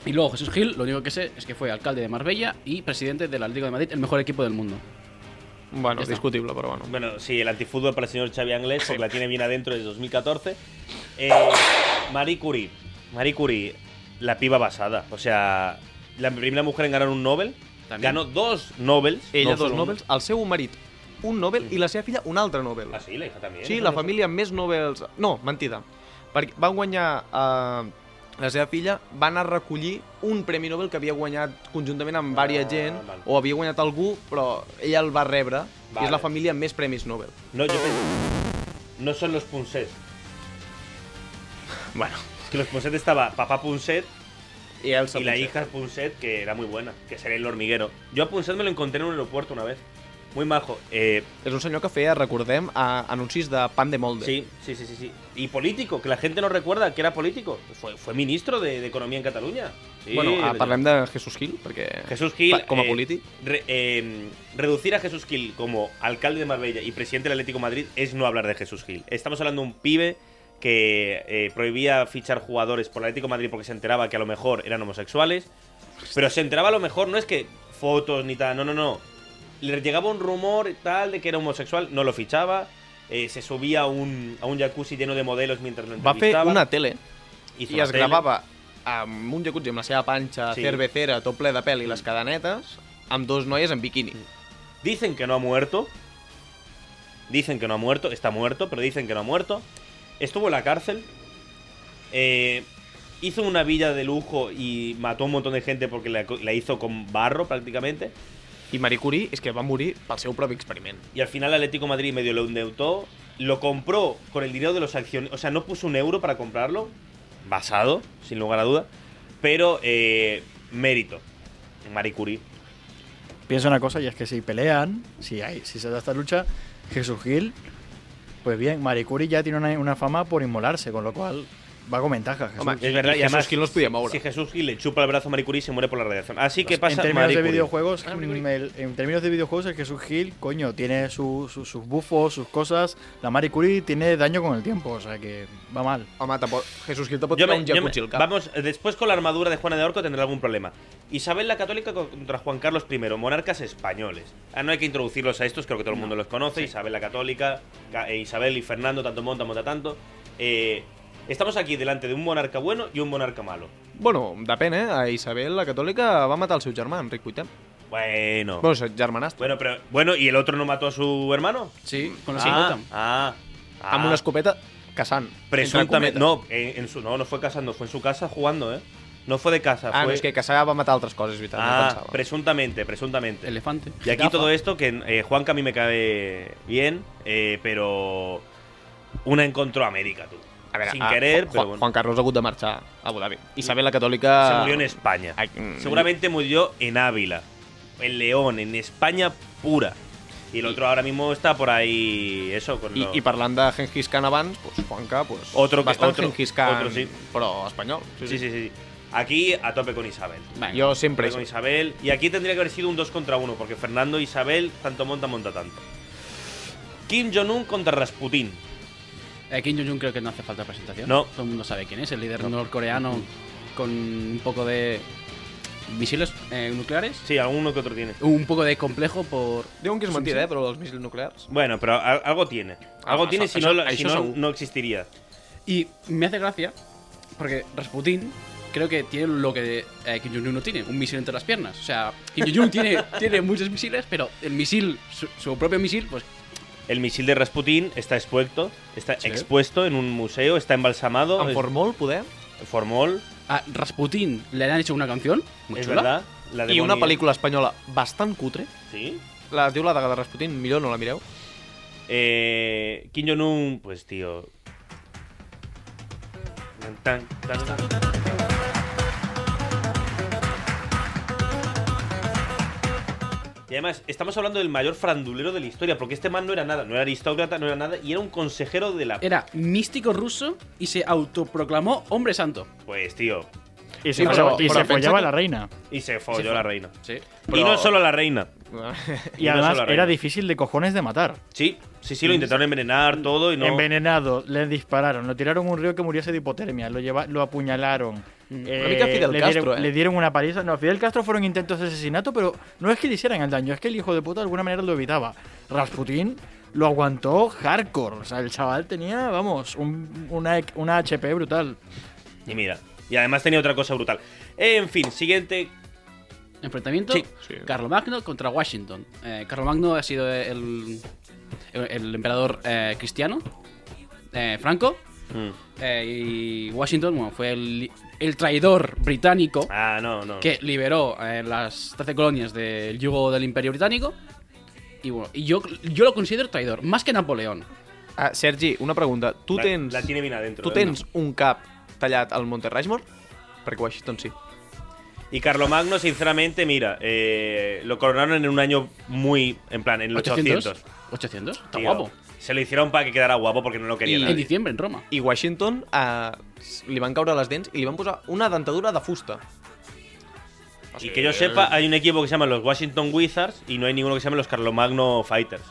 Y luego Jesús Gil, lo único que sé es que fue alcalde de Marbella y presidente del Atlético de Madrid, el mejor equipo del mundo. Bueno, és discutible, però bueno. Bueno, sí, el antifútbol para el señor Xavi Anglés, porque la tiene bien adentro desde 2014. Eh, Marie Curie. Marie Curie, la piba basada. O sea, la primera mujer en ganar un Nobel. También. Ganó dos Nobels. Ella no dos solo un. Nobels, el seu marit un Nobel i la seva filla un altre Nobel. Ah, sí, la hija también. Sí, la família amb més Nobels... No, mentida. Perquè van guanyar... Eh, la seva filla va anar a recollir un Premi Nobel que havia guanyat conjuntament amb vària Ah, gent, val. o havia guanyat algú, però ella el va rebre, i Vale. és la família amb més Premis Nobel. No, yo pensé- No son los Punset. Bueno, es que los Punset estaba papá Punset I, Elsa y la Punset. hija Punset, que era muy buena, que sería el hormiguero. Yo a Punset me lo encontré en un aeropuerto una vez. Muy majo. Eh, És un senyor que feia, recordem, a, anuncis de pan de molde. Sí, sí, sí, sí, sí. Y político, que la gente no recuerda que era político. Fue, fue ministro de, de Economía en Cataluña. Sí, bueno, ah, señor. parlem de Jesús Gil, perquè... Jesús Gil. Pa- com a eh, polític. re- eh, reducir a Jesús Gil como alcalde de Marbella y presidente del Atlético de Madrid es no hablar de Jesús Gil. Estamos hablando de un pibe que eh, prohibía fichar jugadores por el Atlético de Madrid porque se enteraba que a lo mejor eran homosexuales. Pero se enteraba a lo mejor, no es que fotos ni tal, no, no, no. Le llegaba un rumor tal de que era homosexual, no lo fichaba. eh, se subía a un, a un jacuzzi lleno de modelos mientras lo Va fer entrevistaba. una tele hizo i una es tele. gravava amb un jacuzzi amb la seva panxa Sí. sí. cervecera, tot ple de pèl i les cadenetes, amb dos noies en biquini. Dicen que no ha muerto. Dicen que no ha muerto. Está muerto, pero dicen que no ha muerto. Estuvo en la cárcel. Eh, hizo una villa de lujo y mató a un montón de gente porque la, co- la hizo con barro prácticamente. I Marie Curie és que va morir pel seu propi experiment. Y al final Atlético de Madrid medio lo endeudó. Lo compró con el dinero de los acciones. O sea, no puso un euro para comprarlo. Basado, sin lugar a duda. Pero eh, mérito. Marie Curie. Piensa una cosa y es que si pelean, si hay, si se da esta lucha, Jesús Gil, pues bien, Marie Curie ya tiene una, una fama por inmolarse, con lo cual va con ventaja. Jesús. Home, Es verdad, y, Jesús además, Gil no se podía mover. Si Jesús Gil le chupa el brazo a Marie Curie, se muere por la radiación. Así que en pasa términos Marie de Curie. videojuegos, mm, el- en términos de videojuegos, el Jesús Gil, coño, tiene su- su- sus bufos, sus cosas. La Marie Curie tiene daño con el tiempo, o sea que va mal. Home, tampoc... Jesús Gil te pot Yo tirar me- un yo me- jacuzzi al cap. vamos, eh, después con la armadura de Juana de Orco tendrá algún problema. Isabel la Católica contra Juan Carlos I, monarcas españoles. Ah, no hay que introducirlos a estos, creo que todo el mundo los conoce. Isabel la Católica, Ca- eh, Isabel y Fernando, tanto monta, monta tanto. Eh, estamos aquí delante de un monarca bueno y un monarca malo. Bueno, depèn, eh? A Isabel la Catòlica va matar el seu germà, Enric VIII. Bueno. Bueno, seu germanastre. Bueno, pero bueno, ¿y el otro no mató a su hermano? Sí, con ah, la escopeta. ah, ah. Amb una escopeta caçant. Presuntamente. entre cometes. No, en, en su, no, no fue casando, fue en su casa jugando, ¿eh? No fue de casa, Ah, fue. no, és que caçar va matar altres coses, és veritat, ah, no pensava. presuntamente, presuntamente. Elefante. Y aquí jirafa. todo esto, que eh, Juanca a mí me cae bien, eh, pero. Una encontró a América, tú. Sin ah, querer, Juan, pero bueno. Juan Carlos ha hagut de marxar a Abu Dhabi. Isabel la Catòlica... se murió en España. Ai, mm, Seguramente murió en Ávila, en León, en España pura. Y el otro ahora mismo está por ahí, eso, con I, lo- I parlant de Genghis Khan abans, pues, Juanca, pues, Otro que- bastant otro- Genghis Khan, otro sí. però espanyol. Sí, Sí, sí, sí, sí. Aquí a tope con Isabel. Venga. Jo sempre... Pero con Isabel. Y aquí tendría que haber sido un 2 contra 1, porque Fernando e Isabel tanto monta, monta tanto. Kim Jong-un contra Rasputin. Eh, Kim Jong-un creo que no hace falta presentación. No. Todo el mundo sabe quién es, el líder norcoreano con un poco de misiles eh, nucleares. Sí, alguno que otro tiene. Un poco de complejo por... Diuen que és mentida, eh, però els míssils nuclears. Bueno, pero a- algo tiene. Algo Ah, tiene, eso- si no, eso- la- si eso no, seguro. no existiría. Y me hace gracia porque Rasputin creo que tiene lo que eh, Kim Jong-un no tiene, un misil entre las piernas. O sea, Kim Jong-un tiene, tiene muchos misiles, pero el misil, su, su propio misil, pues El misil de Rasputin está expuesto, está Sí. expuesto en un museo, está embalsamado. En es- Formol, poder? Formol, a Rasputin le han hecho una canción, muy es chula. verdad. La de I una Bonnie- pel·lícula espanyola bastant cutre. Sí. La es diu La Daga de Rasputin, millor no la mireu. Eh, Kim Jong-un, pues tío. Tan, tan, tan. Y además, estamos hablando del mayor frandulero de la historia, porque este man no era nada, no era aristócrata, no era nada, y era un consejero de la. Era místico ruso y se autoproclamó hombre santo. Pues tío. Sí, Y se, pero- follaba- y pero se piensa follaba que- la reina. Y se folló fue. la reina. Sí. Y Pero- no solo la reina. Y, no además solo la era reina. difícil de cojones de matar. Sí, sí, sí, lo intentaron envenenar todo y no. Envenenado, le dispararon, lo tiraron a un río que muriese de hipotermia, lo, lleva, lo apuñalaron. eh, Una mica Fidel le, Castro, dieron, eh. le dieron una paliza. No, a Fidel Castro fueron intentos de asesinato, pero no es que le hicieran el daño, es que el hijo de puta de alguna manera lo evitaba. Rasputin lo aguantó hardcore. O sea, el chaval tenía, vamos, un- una, una HP brutal. Y mira. Y además tenía otra cosa brutal. En fin, siguiente. Enfrentamiento. Sí. Sí. Carlomagno contra Washington. Eh, Carlomagno ha sido el, el- el emperador eh, cristiano, eh, Franco. Mm. eh, y Washington bueno, fue el, el traidor británico Ah, no, no. que liberó eh, las 13 colonias del yugo del imperio británico. Y bueno, y yo, yo lo considero traidor, más que Napoleón. Ah, Sergi, una pregunta. Tu La- tens, La tiene bien adentro. tu eh, tens un cap tallat al Monte Rushmore? Perquè Washington sí. Y Carlomagno, sinceramente, mira, eh, lo coronaron en un año muy. En plan, en el 800. 800. 800. Está Tío, guapo. Se lo hicieron para que quedara guapo porque no lo quería Y- En nadie. diciembre, en Roma. I Washington eh, s- li van caure les dents i li van posar una dentadura de fusta. Y que yo sepa, hay un equipo que se llama los Washington Wizards y no hay ninguno que se llame los Carlomagno Fighters.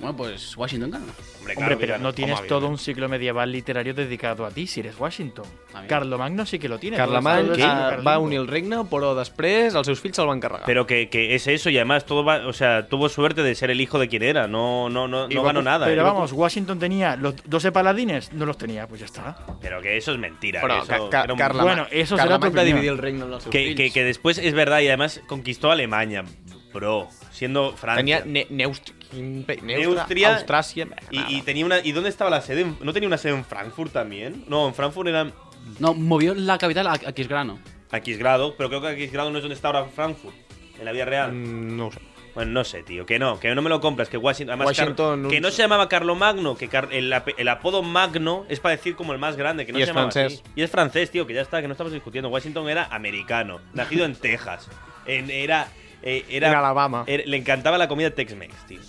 Bueno, pues Washington gana. Hombre, claro Hombre, que pero gana. no tienes Toma, todo un ciclo medieval literario dedicado a ti si eres Washington. Ah, mira. Carlomagno sí que lo tiene. Carlemany Todo el- eh, todo el siglo va carlino. unir el regne, però després els seus fills se'l van carregar. Pero que, que es eso y además todo va, o sea, tuvo suerte de ser el hijo de quien era, no, no, no, Y no Goku- ganó nada. Pero eh. vamos, Washington tenía los 12 paladines, no los tenía, pues ya está. Pero que eso es mentira. Però que ca, eso ca, eh, era un- Carlemany, Bueno, eso será tu Carlemany va opinió. dividir el regne en els seus que, fills. que- que después es verdad y además conquistó Alemania, bro, siendo Francia. Tenia ne Neust quin pe- Neustria Neustra, Austràcia... y, y tenía una, ¿Y dónde estaba la sede? ¿No tenía una sede en Frankfurt también? No, en Frankfurt era No, movió la capital a, a Quisgrano. Aquisgrado, pero creo que Aquisgrado no es donde está ahora Frankfurt, en la vida real. Mm, No ho sé. Bueno, no sé, tío, que no, que no me lo compras, que Washington... además, Washington, Car- que un- no se llamaba Carlo Magno, que Car- el, ape- el apodo Magno es para decir como el más grande, que no Y se es llamaba así. francés. Y es francés, tío, que ya está, que no estamos discutiendo. Washington era americano, nacido en Texas. En, era, eh, era... En Alabama. er- le encantaba la comida Tex-Mex, tío.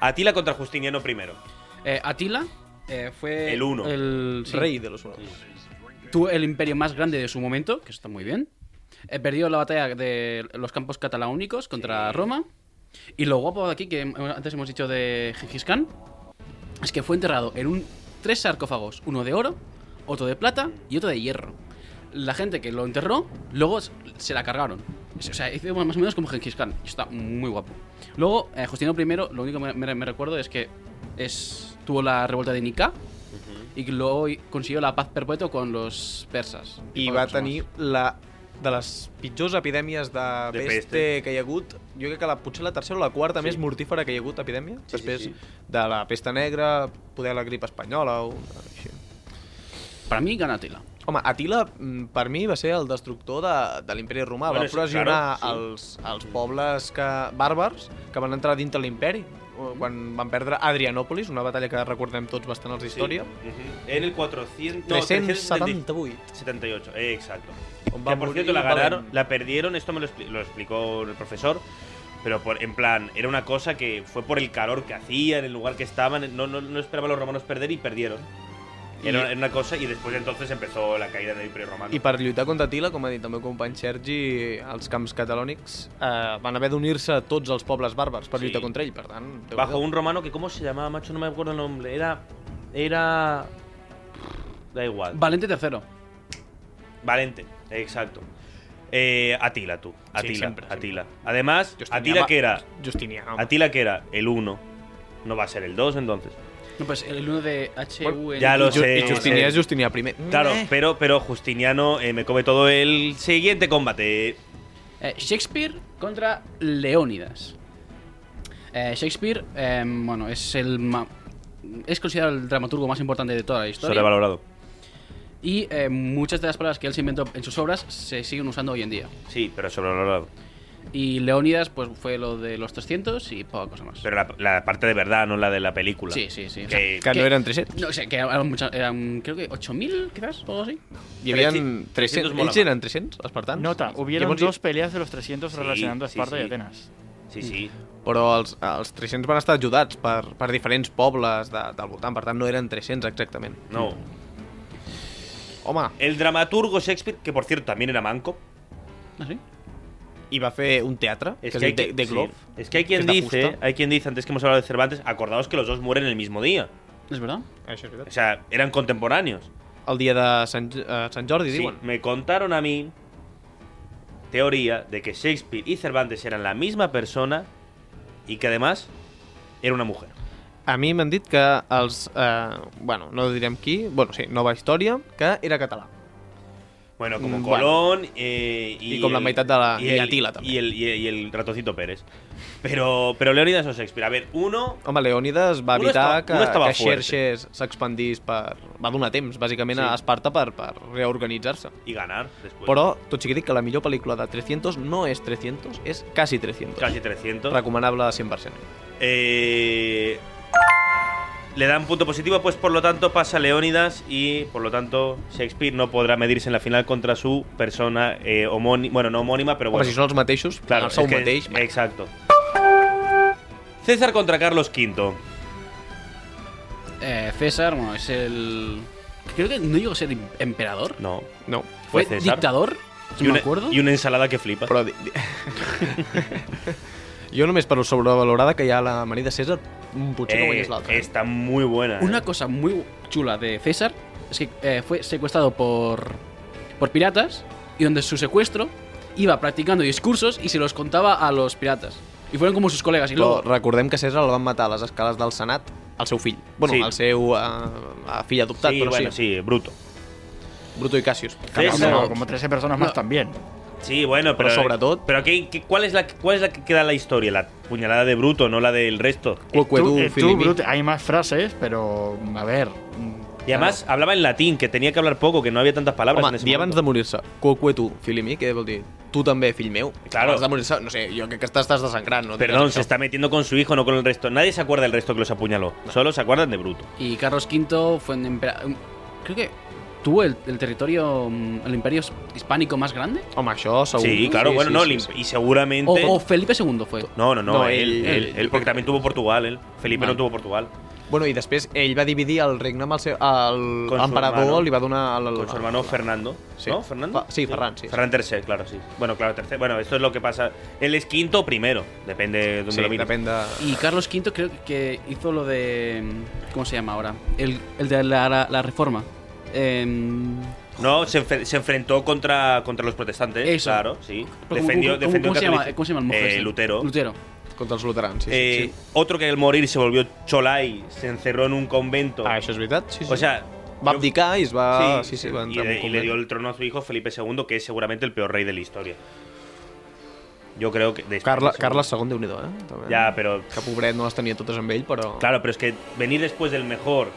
Atila contra Justiniano primero. Eh, Atila eh, fue. El uno. El sí. Rei de los Unos. Tuvo el imperio más grande de su momento, que eso está muy bien. Eh, perdió la batalla de los campos cataláunicos contra Roma. Y lo guapo de aquí, que hem- antes hemos dicho de Gengis Khan, es que fue enterrado en un, tres sarcófagos: uno de oro, otro de plata y otro de hierro. La gente que lo enterró, luego s- se la cargaron. Es- O sea, hizo más o menos como Gengis Khan. Y está muy guapo. Luego, eh, Justiniano I, lo único que me- me me recuerdo es que es, tuvo la revuelta de Nika, y luego consiguió la paz perpetua con los persas. I Con va los tenir la de les pitjors epidèmies de, De de peste. peste, que hi ha hagut, jo crec que la, potser la tercera o la quarta més mortífera que hi ha hagut epidèmia, Sí, sí, després sí. de la pesta negra, poder la grip espanyola o una cosa així. romanos. Para mí, gana Tila. Home, Atila, mm, per mi, va ser el destructor de, de l'imperi romà. Bueno, Bueno, és- va provisionar claro, sí. els, els pobles que, bàrbars que van entrar dintre l'imperi. O Mhm. Quan van perdre Adrianòpolis, una batalla que recordem tots bastant als d'història. Ujú. En el 400... no, 378. 78, eh, exacto. On Que va por morir cierto la Valent. ganaron, la perdieron, esto me lo, expli- lo explicó el profesor, pero por, en plan, era una cosa que fue por el calor que hacía, en el lugar que estaban, no, no, no esperaban los romanos perder y perdieron. Era, era una cosa, y después de entonces empezó la caída del Imperio Romano. I per lluitar contra Tila, com ha dit el meu company Sergi, els camps catalònics eh, van haver d'unir-se tots els pobles bàrbars per Sí. lluitar contra ell, per tant... déu-n'hi-do. Bajo un romano que, ¿cómo se llamaba, macho? No me acuerdo el nombre. Era. Era. Da igual. Valente tercero. Valente, exacto. Eh, Atila, tú. Atila, siempre, Atila. Además, Justinià Atila va- que era. Justinià. home. Atila que era el 1. No va a ser el 2 entonces. No, pues el uno de H. ya lo I, Ju sé. I Justinià eh, és Justinià primer. Claro, Eh. pero, pero Justiniano eh, me come todo el siguiente combate. Eh, Shakespeare contra Leónidas. Eh, Shakespeare, eh, bueno, es el ma- es considerado el dramaturgo más importante de toda la historia. Sobrevalorado. Y eh, muchas de las palabras que él se inventó en sus obras se siguen usando hoy en día. Sí, pero sobrevalorado. Y Leónidas, pues fue lo de los 300 y poca cosa más. Pero la, la parte de verdad, no la de la película. Sí, sí, sí. o sea, Que- Que Que- no eren 300. No sé, que eran muchas. Eran, creo que 8.000, quizás, o algo así. Hi havia 300 300. mola Ells más. eren 300, els espartans? Nota, hubieron Llavors, dos peleas de los 300 Sí, relacionando a sí, Esparta sí. y Atenas. sí, sí. Però els, els 300 van estar ajudats per, per diferents pobles de, del voltant, per tant no eren 300 exactament. No. Home, El dramaturgo Shakespeare, que por cierto también era manco, ¿Así? i va fer un teatre, Es que, que, hay és el de, quien- de sí. Globe. es que hay quien que es la dice, justa. hay quien dice, antes que hemos hablado de Cervantes, acordaos que los dos mueren el mismo día. ¿Es verdad? Això O és veritat. sea, eran contemporáneos. El dia de Sant, eh, Sant Jordi, Sí, diuen. me contaron a mí teoría de que Shakespeare y Cervantes eran la misma persona y que además era una mujer. A mi m'han dit que els... Eh, bueno, no direm qui, bueno, sí, Nova Història, que era català. Bueno, como Mm, Colón eh, y, Y con la mitad de la- y el- Atila también. Y el, y el- y el ratoncito Pérez. Pero, pero Leonidas o Shakespeare. A ver, uno. Home, Leònides va Un evitar estava- que, un estava que fuerte. Xerxes s'expandís per... Va donar temps, bàsicament, Sí. a Esparta per, per reorganitzar-se. Y ganar después. Però, tot sigui dit que la millor pel·lícula de 300 no és 300, és quasi 300. Casi 300. Recomanable 100%. Eh, le dan punto positivo, pues por lo tanto pasa Leónidas y por lo tanto Shakespeare no podrá medirse en la final contra su persona eh, homónima, bueno, no homónima, pero Home, bueno. si són els mateixos, Claro, el sou es que- mateix... Exacto. César contra Carlos V. Eh, César, bueno, es el. Creo que no llegó a ser im- emperador. No. No, Fue Fue, César. dictador, si Y me una, acuerdo. y una ensalada que flipa. però... Di... di- jo només per lo sobrevalorada que hi ha la Maria de César, mm, potser no Eh, guanyés l'altra. está muy buena. eh. Una cosa muy chula de César es que eh, fue secuestrado por, por piratas y donde su secuestro iba practicando discursos y se los contaba a los piratas. Y fueron como sus colegas. Y Però luego, recordem que César el van matar a les escales del Senat al seu fill. Bueno, Sí. al seu uh, fill adoptat, sí, però bueno, sí. sí. bruto. Bruto i Cassius. Sí, Como, sí. como, 13 personas más también. Sí, bueno, pero, Pero sobre todo- Pero ¿qué- qué- cuál, es la, ¿cuál es la que queda en la historia? La puñalada de Bruto, no la del resto. Quoque Tú- tu, eh, tú, Filimi. Brut, hay más frases, pero a ver. mm, Y además hablaba en latín, que tenía que hablar poco, que no había tantas palabras en Home, ese dir abans momento. de morir-se, quoque tu, fill mi, què vol dir? Tu també, fill meu. Claro. Abans de morir-se, no sé, jo crec que estàs, estàs desangrant, no? Perdón, se está metiendo con su hijo, no con el resto. Nadie se acuerda del resto que los apuñaló. Solo se acuerdan de Bruto. y Carlos V fue un emperador. Creo que tuvo el, el territorio, mm, el imperio hispánico más grande. Home, això segur. Sí, claro, bueno, no, lim- y seguramente. O, o Felipe II fue. No, no, no, No, él, él, él- él, él- porque también tuvo Portugal, él. Felipe no Vale. tuvo Portugal. Bueno, i després ell va dividir el regne amb el seu... El Con su hermano. emperador li va donar... El, Con su hermano Fernando. Sí. ¿No? ¿Fernando? Fa- sí, Ferran, sí. Ferran III, claro, sí. Bueno, claro, tercero. Bueno, esto es lo que pasa. Él es quinto o primero. Depende de dónde Sí, lo mires. depèn de... Y Carlos V creo que hizo lo de. ¿Cómo se llama ahora? El, el de la, la- la reforma. Em, No, se, enfe- se enfrentó contra, contra los protestantes. Eso. Claro, sí. ¿cómo- Defendió, cómo- defendió ¿cómo, el se llama, catolicismo. ¿Cómo se llama el monje Eh, este? Lutero. Lutero. Contra els luterans, sí. sí. Eh, Otro que al morir se volvió cholai, se encerró en un convento. Ah, això és veritat? Sí, sí. O sea. va yo- abdicar i es va... Sí, sí, va y, entrar en le, un y le convent. dio el trono a su hijo Felipe II, que es seguramente el peor rey de la historia. Yo creo que. de España, Carla, seguro. Carles II, déu nhi eh? També. Ya, pero. Que pobret no les tenia totes amb ell, però... Claro, pero es que venir después del mejor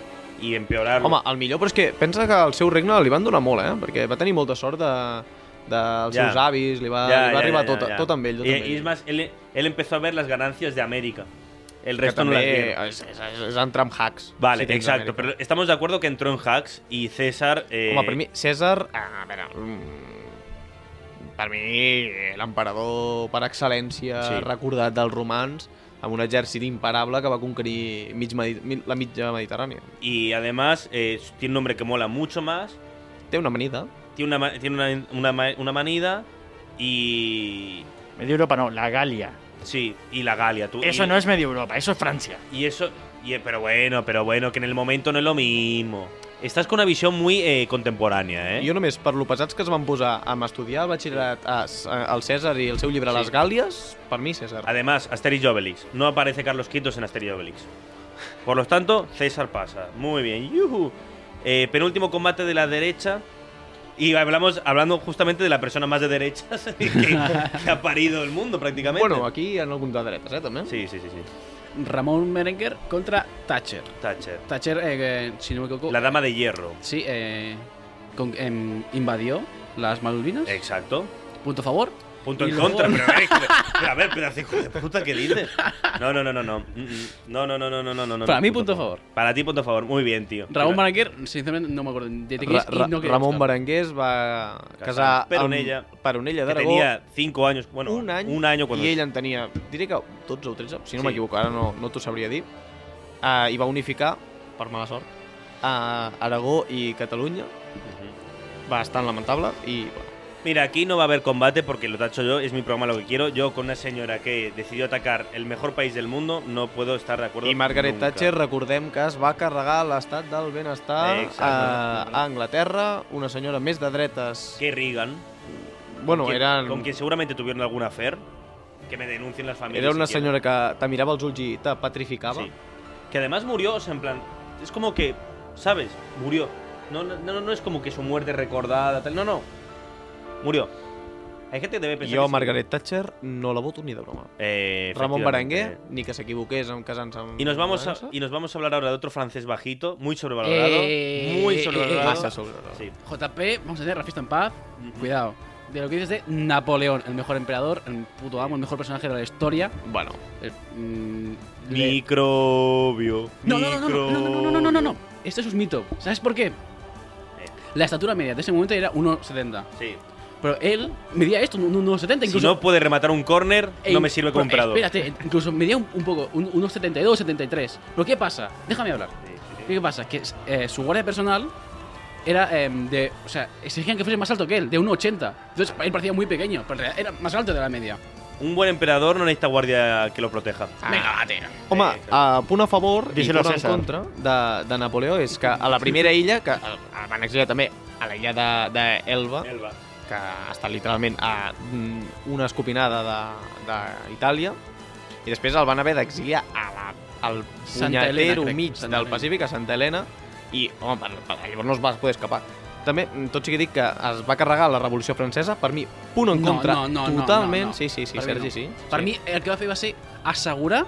y empeorar. Home, el millor, però és que pensa que al seu regne li van donar molt, eh? Perquè va tenir molta sort de, dels Ja. seus avis, li va, li va arribar tot, tot amb ell. Tot Y, amb y es ell. más, él, él empezó a ver las ganancias de América. El que resto no també las vieron. és, és, és, és entrar en hacks. Vale, Si tens exacto. Amèrica. Pero estamos de acuerdo que entró en hacks y César. eh, Home, per mi, César... ah, A veure... mm, Per mi, eh, l'emperador per excel·lència Sí. sí. recordat dels romans amb un exèrcit imparable que va conquerir mig Medi- mi- la mitja Mediterrània. Y además eh, tiene un nombre que mola mucho más. Té una amanida. Tiene una, ma- tiene una, una, ma- una manida. Y. Medio Europa no, la Galia. Sí, y la Galia. Tú, Eso y- no es Medio Europa, eso es Francia. Y eso. y- pero bueno, pero bueno, que en el momento no es lo mismo. Estás con una visión muy eh, contemporánea, ¿eh? Eh? Jo només per lo pesats que es van posar amb estudiar el batxillerat a, a, al César i el seu llibre sí. Les Gàlies, per mi César. Además, Asterix y Obelix. No aparece Carlos V en Asterix y Obelix. Por lo tanto, César pasa. Muy bien. yujú. Eh, penúltimo combate de la derecha. Y hablamos hablando justamente de la persona más de derechas que, que ha parido el mundo prácticamente. Bueno, aquí en algun de dretes, eh, també. Sí, sí, sí, sí. Ramón Merenguer contra Thatcher. Thatcher. Thatcher, eh, eh, si no me equivoco. La dama de hierro. Sí, eh, con- em, invadió las Malvinas. Exacto. Punto a favor. Punto Y en luego- contra, pero, a ver, pero a ver, pedazo hijo de puta, ¿qué dices? No, no, no, no, no. Mm, mm. No, no, no, no, no, no, no. Para no, mí, punto a favor. Para ti, punto a favor. Muy bien, tío. Ramón Mira, Merenguer, sinceramente no me acuerdo de qué Ra es Ra y no quería Ramon buscar. Berenguer es va casar Peronella. amb Peronella que d'Aragó tenía cinco años. Bueno, un any, un año cuando i ell en tenia, diré que 12 o 13, si no Sí. sí. m'equivoco, ara no, no t'ho sabria dir, uh, i va unificar, per mala sort, uh, Aragó i Catalunya, bastant lamentable, i bueno, Mira, aquí no va a haber combate porque lo tacho yo, es mi programa lo que quiero. Yo con una señora que decidió atacar el mejor país del mundo no puedo estar de acuerdo. I Margaret nunca. Thatcher, recordem que es va carregar l'estat del benestar Exacte. a, a Anglaterra, una senyora més de dretes... Que Reagan. Bueno, con quien- eren... Con quien seguramente tuvieron algún affair. Que me denuncien las familias. Era una si quieren. senyora que te mirava els ulls i te petrificava. Sí. Que además murió, o sea, en plan. Es como que, ¿sabes? Murió. No, no, no, no es como que su muerte recordada, tal. No, no. Murió. Hay gente que debe pensar. Jo, que sí. Margaret Thatcher, no la voto ni de broma. Eh, Ramon efectivamente. Berenguer, ni que s'equivoqués en casant-se amb... Y nos, vamos a, França. y nos vamos a hablar ahora de otro francés bajito, muy sobrevalorado. Eh, muy eh, sobrevalorado. Massa sobre. no? Sí. JP, vamos a tener la fiesta en paz. Cuidado. De lo que dices de Napoleón, el mejor emperador, el puto amo, el mejor personaje de la historia. Bueno, Eh, mm, le- Microbio. No, no, no, no, no, no, no, no, no, no, no. Esto es un mito. ¿Sabes por Eh. qué? La estatura media de ese momento era 1,70. Sí. Pero él medía esto, un 1,70 Si incluso. no puede rematar un corner, E no in- me sirve pero comprado. Espérate, incluso medía un, un poco, un- unos 72, 73. ¿Pero qué pasa? Déjame hablar. ¿Qué pasa? Que eh, su guardia personal era eh, de. O sea, exigían que fuese más alto que él, de 1,80. Entonces él parecía muy pequeño, pero en realidad era más alto de la media. Un buen emperador no necesita guardia que lo proteja. Venga, va, tío. Home, Eh, a punt a favor i Díselo punt a en César. contra de, de Napoleó és que a la primera illa, que eh, van exiliar també a l'illa d'Elba, de, Elba, Elba. que està literalment a mm, una escopinada de- d'Itàlia, i després el van haver d'exiliar a la, al Santa Helena, punyatero crec. mig Santa del Helena. Pacífic, a Santa Helena, i home, per, per, llavors no es va poder escapar. També, mm, tot sigui dit que es va carregar la Revolució Francesa, per mi, punt en No, contra, no, no, no, totalment. no, no. Sí, sí, sí, Per mi Sergi, no. sí. Per sí. mi, el que va fer va ser assegurar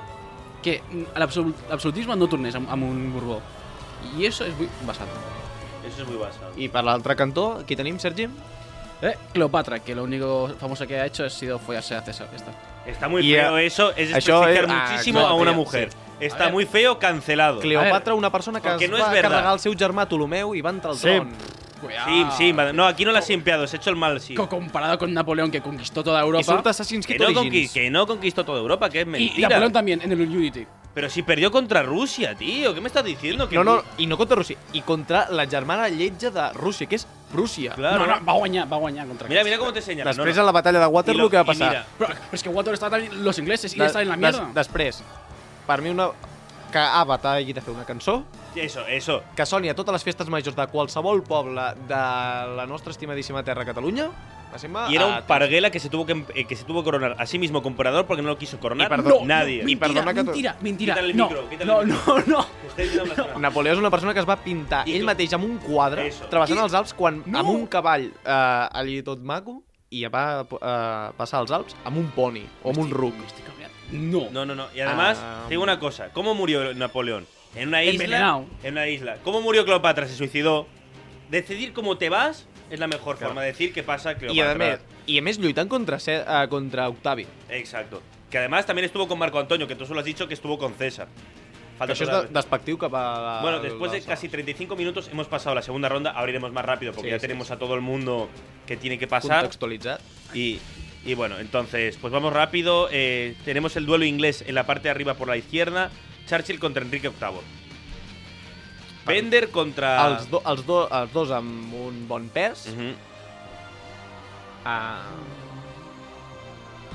que mm, l'absolut- l'absolutisme no tornés amb, amb un Borbó. I això és molt basat. Eso es muy basado. I per l'altre cantó, aquí tenim, Sergi? Eh, Cleopatra, que lo único famoso que ha hecho ha sido follarse a César. ya está. Está muy Y, feo eh, eso, es eso desprestigiar es- ah, muchísimo claro, a una tío, mujer. sí. Está A ver. muy feo, cancelado. Cleopatra, una persona que el que es no va és verdad. carregar el seu germà Ptolomeu i va entrar al Sí. tron. Cuidado. Sí, sí, madre- no, aquí no la has simpiado, has hecho el mal, sí. Co- Comparado con Napoleón, que conquistó toda Europa. I surt Assassin's Que Creed no, conqui- Origins. que no conquistó toda Europa, que es y mentira. Napoleón también en el Unity. Pero si perdió contra Rusia, tío, ¿qué me estás diciendo? Que No, no, i no contra Rússia, i contra la germana lletja de Rússia, que és Prússia. Claro. no, no, va a guañar, va a guañar contra Mira, César. mira cómo te señala. Després, no, a no. la batalla de Y lo- Waterloo, què va y passar? mira, Pero, pero es que Water está también los ingleses y De- está en la des- mierda. després, per mi una... que Avatar hagi de fer una cançó Eso, eso. que soni a totes les festes majors de qualsevol poble de la nostra estimadíssima terra Catalunya. eh, Passem-me Ah, Y era a- un parguela que se tuvo que, em- eh, que se tuvo que coronar a sí mismo comperador porque no lo quiso coronar perdón. No, nadie. no, mentira, perdona que tu- mentira, mentira. Quítale el no, micro, quítale no, el no, no. Estoy diciendo una persona. Napoleó és una persona que es va pintar I ell tu- mateix amb un quadre, Eso. travessant I- els Alps, quan No. amb un cavall eh, allí tot maco, i va eh, passar els Alps amb un poni o amb un ruc. Me estoy cabreando. No. No, no, no. Y además, Ah. te digo una cosa. ¿Cómo murió Napoleón? En una isla. Envenenado. En una isla. ¿Cómo murió Cleopatra? Se suicidó. Decidir cómo te vas es la mejor Claro. forma de decir qué pasa a Cleopatra. I a, més, I a més lluitant contra, Ce- eh, contra Octavi. Exacto. Que además también estuvo con Marco Antonio, que tú solo has dicho que estuvo con César. Falta Això és total. de- despectiu cap a... La, Bueno, después de la- casi 35 minutos hemos pasado la segunda ronda. Ahora iremos más rápido porque Sí, ya sí, tenemos a todo el mundo que tiene que pasar. contextualitzat. Y, y bueno, entonces, pues vamos rápido. Eh, tenemos el duelo inglés en la parte de arriba por la izquierda. Churchill contra Enrique VIII. Bender contra... Els, do, els, do, els dos amb un bon pes. Mm Ujú.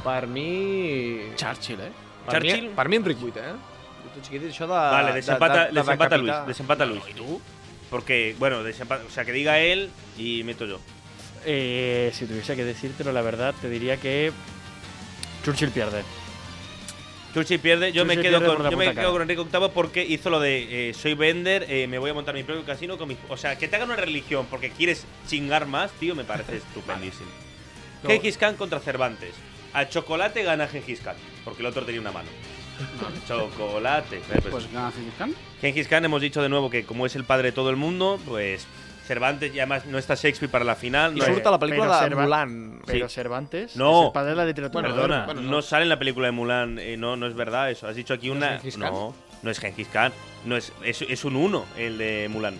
Per mi... Churchill, eh. Per mi, Churchill. per mi Enric VIII, eh? Tot xiquit, això de... Vale, desempata, de- de- de desempata Luis. decapitar. Desempata Luis. Porque, bueno, desempa- o sea, que diga él y meto yo. Eh, si tuviese que decírtelo, la verdad, te diría que Churchill pierde. Churchill pierde, yo me Churchill quedo, pierde por con, la yo me puta quedo cara. con Enrique VIII porque hizo lo de eh, soy vender, eh, me voy a montar mi propio casino con mis... O sea, que te hagan una religión porque quieres chingar más, tío, me parece estupendísimo. No. Gengis Khan contra Cervantes. A chocolate gana Gengis Khan, porque el otro tenía una mano. chocolate. Eh, pues, Pues gana Gengis Khan. Gengis Khan hemos dicho de nuevo que como es el padre de todo el mundo, pues Cervantes y además no está Shakespeare para la final. I No, Sí. hay- surt a la pel·lícula Però de Serva- Mulan. Pero Sí. Cervantes No. es el padre de la literatura. Perdona, bueno, no. no. sale en la película de Mulan, eh, no, no es verdad eso. Has dicho aquí es una. Gengis Khan? no, no es Genghis Khan. No es, es, es un uno el de Mulan.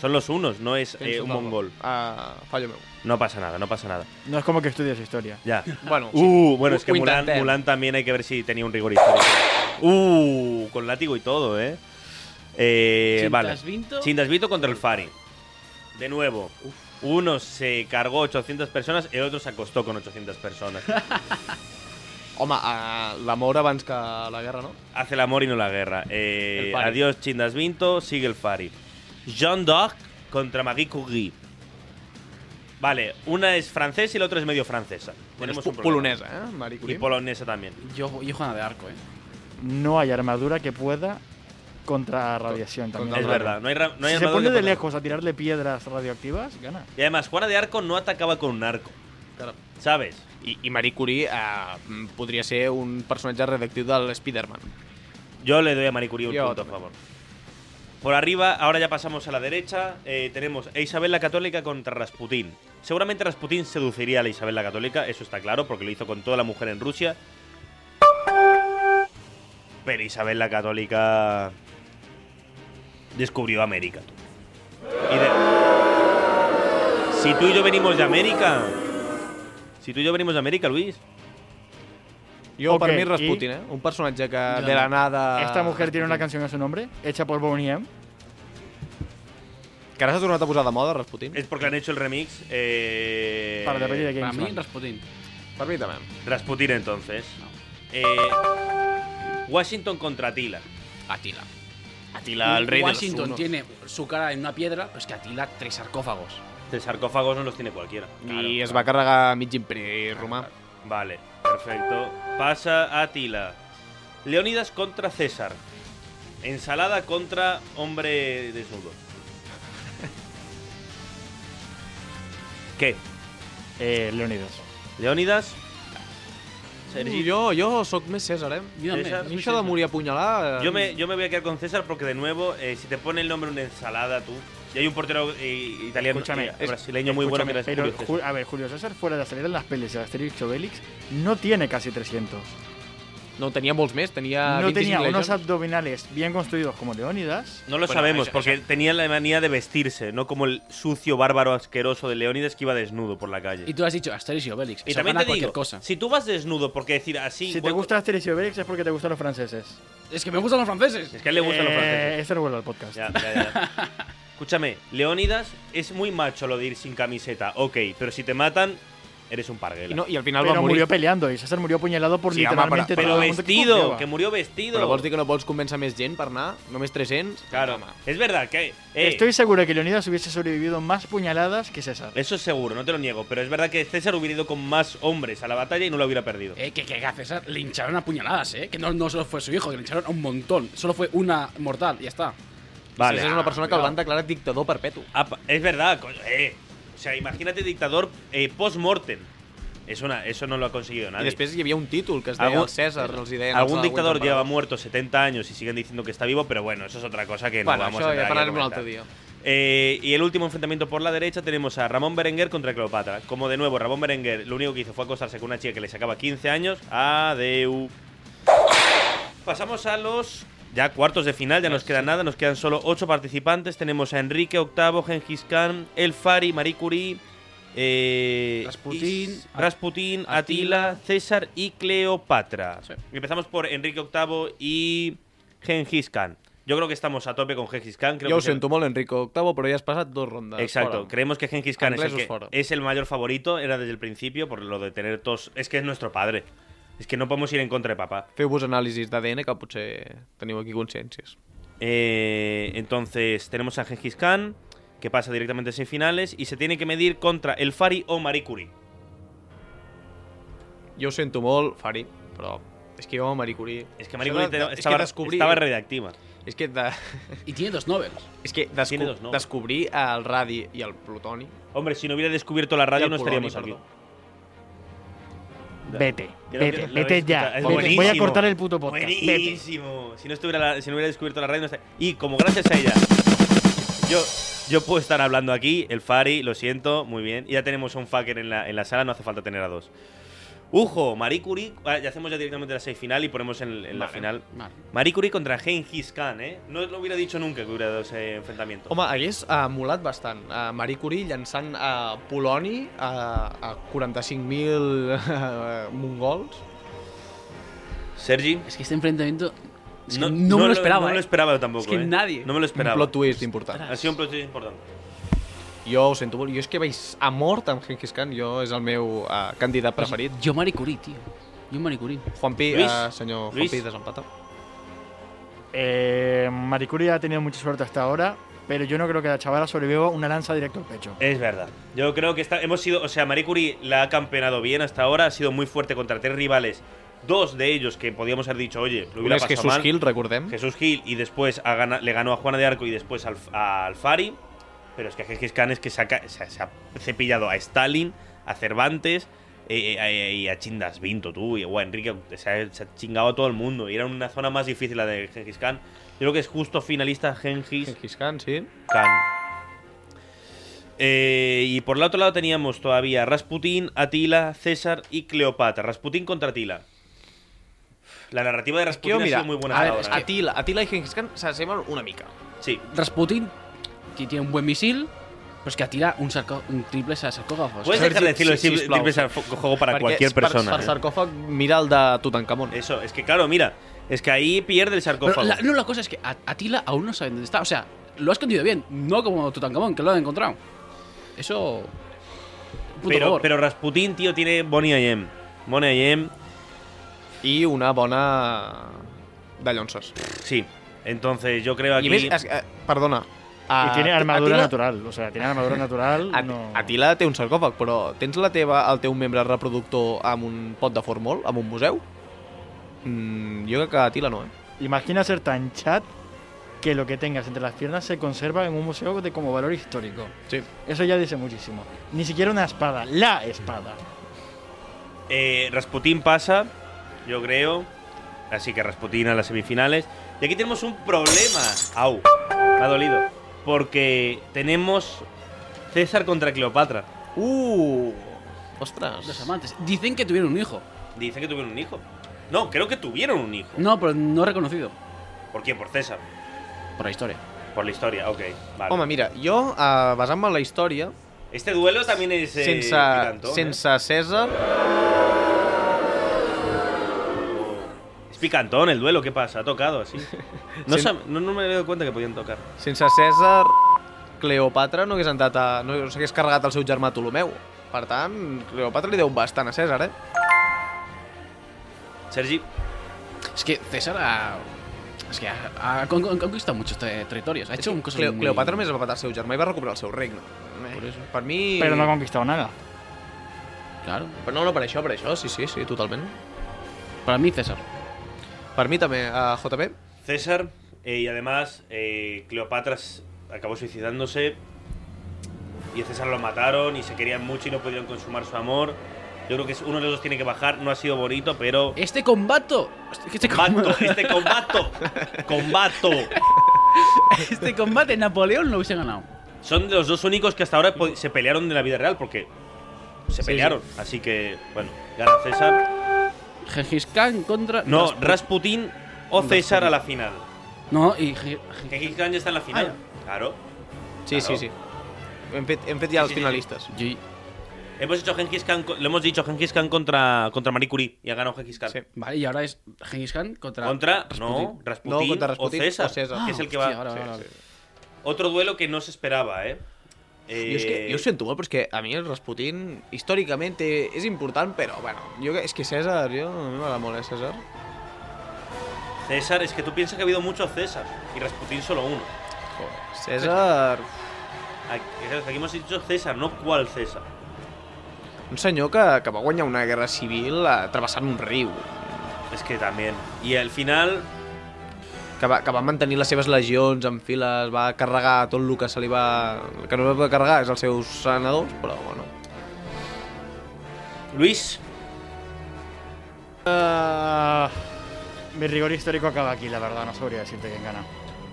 Son los unos, no es eh, un mongol. Ah, fallo meu. No pasa nada, no pasa nada. No es como que estudias historia. Ya. Bueno, Uh, bueno, Ho- es que ho Mulan, intentem. Mulan también hay que ver si tenía un rigor histórico. Uh, con látigo y todo, ¿eh? eh vale. Vinto. Chindasvito contra el Fari. De nuevo, uno se cargó 800 personas, el otro se acostó con 800 personas. Home, ah, l'amor abans que la guerra, no? Hace el amor y no la guerra. Eh, El Fari. adiós, Chindas Vinto. Sigue el Fari. John Dog contra Maggie Curie. Vale, una es francesa y la otra es medio francesa. Bueno, Tenemos es un po- problema. polonesa, eh, Marie Y Curie. polonesa también. Yo, yo Juana de Arco, eh. No hay armadura que pueda contra radiación también. Contra es Claro. verdad, no hay, ra- no hay si se armadura pone que de pueda- lejos a tirarle piedras radioactivas, gana. Y además, Juana de Arco no atacaba con un arco, Claro. ¿sabes? I, I Marie Curie eh, mm, podria ser un personatge redactiu del Spider-Man. Yo le doy a Marie Curie un Yo punto a también. favor. Por arriba, ahora ya pasamos a la derecha. eh, tenemos a Isabel la Católica contra Rasputín. Seguramente Rasputín seduciría a la Isabel la Católica, eso está claro, porque lo hizo con toda la mujer en Rusia. Pero Isabel la Católica descubrió América. tú. Y de- Si tú y yo venimos de América. Si tú y yo venimos de América, Luis. Jo, Ok, okay, per mi, i- Rasputin, eh? Un personatge que Jo de la no. nada... Ah, Esta mujer tiene una canción a su nombre, hecha por Bonnie M. Que ara s'ha tornat a posar de moda, Rasputin. Eh, Es porque han hecho el remix. Eh... Para la peli de Para James mí, Bond. Rasputin. Per mi també. Rasputin entonces. Eh, Washington contra Atila. Atila. Atila, Washington unos. tiene su cara en una piedra, pero es que Atila tres sarcófagos. De sarcófagos no los tiene cualquiera. Claro, I es claro. va carregar mig imperi romà. Vale, perfecto. Pasa Atila. Leónidas contra César. Ensalada contra hombre desnudo. ¿Qué? Eh, Leonidas. ¿Leónidas? I jo, jo sóc més César, eh? Yo también, Esa- A es mi muy això de sensato. morir apunyalar... eh, Yo me, yo me voy a quedar con César porque, de nuevo, eh, si te pone el nombre en una ensalada, tú. Y hay un portero eh, italiano, Escúchame, eh, es- brasileño muy bueno. Escúchame, mira, es pero, Julio César. Ju- a ver, Julio César fuera de acelerar las pelis de Asterix y Obelix no tiene casi 300. No, tenia molts més, Ah, tenia no 25 tenía unos legends. abdominales bien construidos como Leónidas. No lo Bueno, sabemos, eh, eso- porque tenía la manía de vestirse, no como el sucio, bárbaro, asqueroso de Leónides que iba desnudo por la calle. Y tú has dicho Asterix y Obelix. Y se también gana te cualquier digo, cosa. si tú vas desnudo, porque decir así... si te hueco- gusta Asterix y Obelix es porque te gustan los franceses. Es que me gustan los franceses. Es que a él le gustan los Eh, franceses. Este no vuelve al podcast. Ya, ya, ya. Escúchame, Leónidas es muy macho lo de ir sin camiseta, ok, pero si te matan, eres un I, parguela. no, I al final Pero va morir. murió peleando y César murió apuñalado por Sí, ama, literalmente pero- pero todo el mundo que vestido, confiaba. que murió vestido. Però vols dir que no vols convèncer més gent per anar? Només 300? Claro, Home. es verdad que... eh, Estoy seguro que Leonidas hubiese sobrevivido más puñaladas que César. Eso es seguro, no te lo niego, pero es verdad que César hubiera ido con más hombres a la batalla y no lo hubiera perdido. Eh, que, que a César le hincharon a puñaladas, eh. Que no, no solo fue su hijo, que le hincharon a un montón. Solo fue una mortal, ya está. vale. César és una persona que el cuidado. van declarar dictador perpetu. Ah, pa- es verdad, coño, eh. O sea, imagínate dictador eh, post-mortem. Es una, eso no lo ha conseguido nadie. I després hi havia un títol que es deia Algún- el César, els hi deien... Algún els de la dictador Guantanamo. lleva muerto 70 años y siguen diciendo que está vivo, pero bueno, eso es otra cosa que no Bueno, vamos això a ja entrar aquí a parlarem un comentar. altre dia. Eh, y el último enfrentamiento por la derecha tenemos a Ramón Berenguer contra Cleopatra. Como de nuevo, Ramón Berenguer lo único que hizo fue acostarse con una chica que le sacaba 15 años. Adeu. Pasamos a los ya cuartos de final, ya nos queda nada, nos quedan solo 8 participantes. Tenemos a Enrique VIII, Genghis Khan, El Fari, Marie Curie, eh, Rasputín, Is- Rasputín, Atila, Atila, César y Cleopatra. Sí. Empezamos por Enrique VIII y Genghis Khan. Yo creo que estamos a tope con Genghis Khan. Creo Jo ho que se- sento molt, Enrico VIII, però ja has passat dos rondes. Exacto, Fora. creemos que Genghis Khan es el, Anglesos que- fuera. es el mayor favorito, era desde el principio, por lo de tener tos. Es que es nuestro padre. Es que no podemos ir en contra de papá. Feu-vos anàlisis d'ADN que potser teniu aquí consciències. Eh, entonces, tenemos a Genghis Khan, que pasa directamente a semifinales, y se tiene que medir contra el Fari o Marie Curie. Jo ho sento molt, Fari, però és que jo amb Marie Curie... Es que Marie Això de- Curie te- de- és estaba, que descobrir... estaba radiactiva. És que, de, Y tiene dos Nobel. és que desco, Tiene dos noms. descobrir el radi i el plutoni... Hombre, si no hubiera descubierto la radio, i el no poloni, estaríamos aquí. perdó. Vete, que vete, lo vete habéis ya. escuchado. Es Vete, buenísimo. Voy a cortar el puto podcast. Vete. Buenísimo. Si no, estuviera la- si no hubiera descubierto la radio, no estaría. Y como gracias a ella, yo, yo puedo estar hablando aquí, el Fari, lo siento, muy bien. Y ya tenemos a un fucker en la, en la sala, no hace falta tener a dos. Ujo, Marie Curie, ah, ya hacemos ya directamente la semifinal y ponemos en, en la Vale. final. Vale. Marie Curie contra Genghis Khan, ¿eh? No lo hubiera dicho nunca que hubiera dado ese enfrentamiento. Home, hagués uh, molat bastant. Uh, Marie Curie llançant a Poloni a, a 45.000 eh, mongols. Sergi, Es que este enfrentamiento. es que no, no, me lo esperaba. No me eh. lo esperaba yo tampoco. Es que ¿eh? nadie. No me lo esperaba. Un plot twist important. Ha sido un plot twist importante. Jo ho sento molt. Jo és que vaig a mort amb Genghis Khan. Jo és el meu uh, candidat preferit. Yo Marie Curie, tío. Yo Marie Curie. Juanpi, Lluís? uh, senyor Lluís? Juanpi, desempata. Eh, Marie Curie ha tenido mucha suerte hasta ahora. pero yo no creo que la chavala sobreviva una lanza directo al pecho. Es verdad. Yo creo que está, hemos sido. O sea, Marie Curie la ha campeonado bien hasta ahora. Ha sido muy fuerte contra tres rivales. Dos de ellos que podíamos haber dicho, oye, lo Un hubiera és pasado Jesús mal. Gil, recordem. Jesús Gil y después ha gana- le ganó a Juana de Arco y después al, a Alfari. Pero es que Gengis Khan es que saca, se, ha- se ha cepillado a Stalin, a Cervantes eh, eh, eh, y a Chindas Vinto, tú, y o a Enrique. Se ha, se ha chingado a todo el mundo. Y era una zona más difícil la de Gengis Khan. Yo creo que es justo finalista Gengis Gengis Khan, sí. Khan. Eh, y por el otro lado teníamos todavía Rasputín, Atila, César y Cleopatra. Rasputín contra Atila. La narrativa de Rasputín Que, ha mira, sido muy buena. a hasta veure, ahora, ¿eh? Atila, Atila i Genghis Khan s'assemblen una mica. Sí, Rasputin que tiene un buen misil, pues que atira un, sarco- un triple a sarcófagos. Puedes dejar de decirlo, Sí, sí, es sí, triple sí. sarcófago para Perquè cualquier és per- persona. eh. Per, sarcòfag, mira el de Tutankamon. Eso, es que claro, mira, es que ahí pierde el Pero sarcófago. la, no, la cosa es que a- Atila aún no sabe dónde está. O sea, lo ha escondido bien, no como Tutankamón, que lo han encontrado. Eso. Puto pero, favor. pero Rasputín, tío, tiene Bonnie y M. Bonnie y M, I una bona de llonses. sí. Entonces yo creo aquí. I a més, es, eh, perdona. Y tiene armadura Atila, natural, o sea, tiene armadura natural. At- no- Atila té un sarcòfag, però tens la teva, el teu membre reproductor amb un pot de formol, amb un museu? Mm, jo crec que Atila no, eh? Imagina ser tan chat que lo que tengas entre las piernas se conserva en un museo de como valor histórico. Sí. Eso ya dice muchísimo. Ni siquiera una espada, la espada. Eh, Rasputín pasa, yo creo. Así que Rasputín a las semifinales. Y aquí tenemos un problema. Au, me ha dolido. Porque tenemos César contra Cleopatra. Uh! Los Ostres! amantes. Dicen que tuvieron un hijo. Dice que tuvieron un hijo. No, creo que tuvieron un hijo. No, pero no reconocido. ¿Por quién? Por César. Por la historia. Por la historia, ok. Vale. Home, mira, jo, eh, basant-me en la història, Este duelo también es. eh, sense, picantón, sense César... ¿eh? Es picantón el duelo, ¿qué pasa? Ha tocado así. No, Sen- sab- no, no me he dado cuenta que podían tocar. Sense César, Cleopatra no hagués entrat a... no s'hagués carregat el seu germà Ptolomeu. Per tant, Cleopatra li deu bastant a César, eh? Sergi, Es que César ha. Es que ha, ha con- con- conquistado muchos te- territorios. Ha hecho un cosa Cleo, muy... Cleopatra només va matar el seu germà i va recuperar el seu regne. Por eso. Per mi... Pero no ha conquistado nada. Claro. Però no, no, per això, per això, sí, sí, sí, totalment. Para mí, César. Per mi també, a JP. César, eh, y además eh, Cleopatra s- acabó suicidándose. Y a César lo mataron y se querían mucho y no pudieron consumar su amor. Yo creo que es- uno de los dos tiene que bajar. No ha sido bonito, pero. Este combato. Este Combato, combate, este combato, combato. este combate Napoleón lo hubiese ganado. Son los dos únicos que hasta ahora po- se pelearon de la vida real porque se pelearon. Así que, bueno, gana César. Gengis Khan contra. No, Rasputin Rasputin. o César a la final. No, y. Ge- Que Gengis Khan Ah, ya está en la final. Claro. Sí, Claro. sí, sí. Hem fet, hem fet Sí, ja els sí, sí. finalistes. Ge- Hemos hecho Gengis Khan, co- lo hemos dicho Gengis Khan contra, contra Marie Curie y ha ganado Gengis Khan. Sí. Vale, y ahora es Gengis Khan contra. Contra, no, Rasputin. Rasputin, No, contra o Rasputin César, o César. que es el que va. Hostia, ahora, ahora, ahora. Otro duelo que no se esperaba, ¿eh? Eh, Jo, és que, jo ho sento molt, però és que a mi el Rasputin històricament eh, és important, però bueno, jo, és que César, jo, a mi m'agrada molt, eh, César. César, es que tú piensas que ha habido muchos César y Rasputin solo uno. César, Aquí, aquí hemos dicho César, no cuál César. un senyor que, que va guanyar una guerra civil eh, travessant un riu, Es que también. Y al final, que va, que va mantenir les seves legions en files, va carregar tot el que se li va... El que no va carregar és els seus senadors, però bueno. Luis, Ah, mi rigor histórico acaba aquí, la verdad, no sabría decirte quién gana.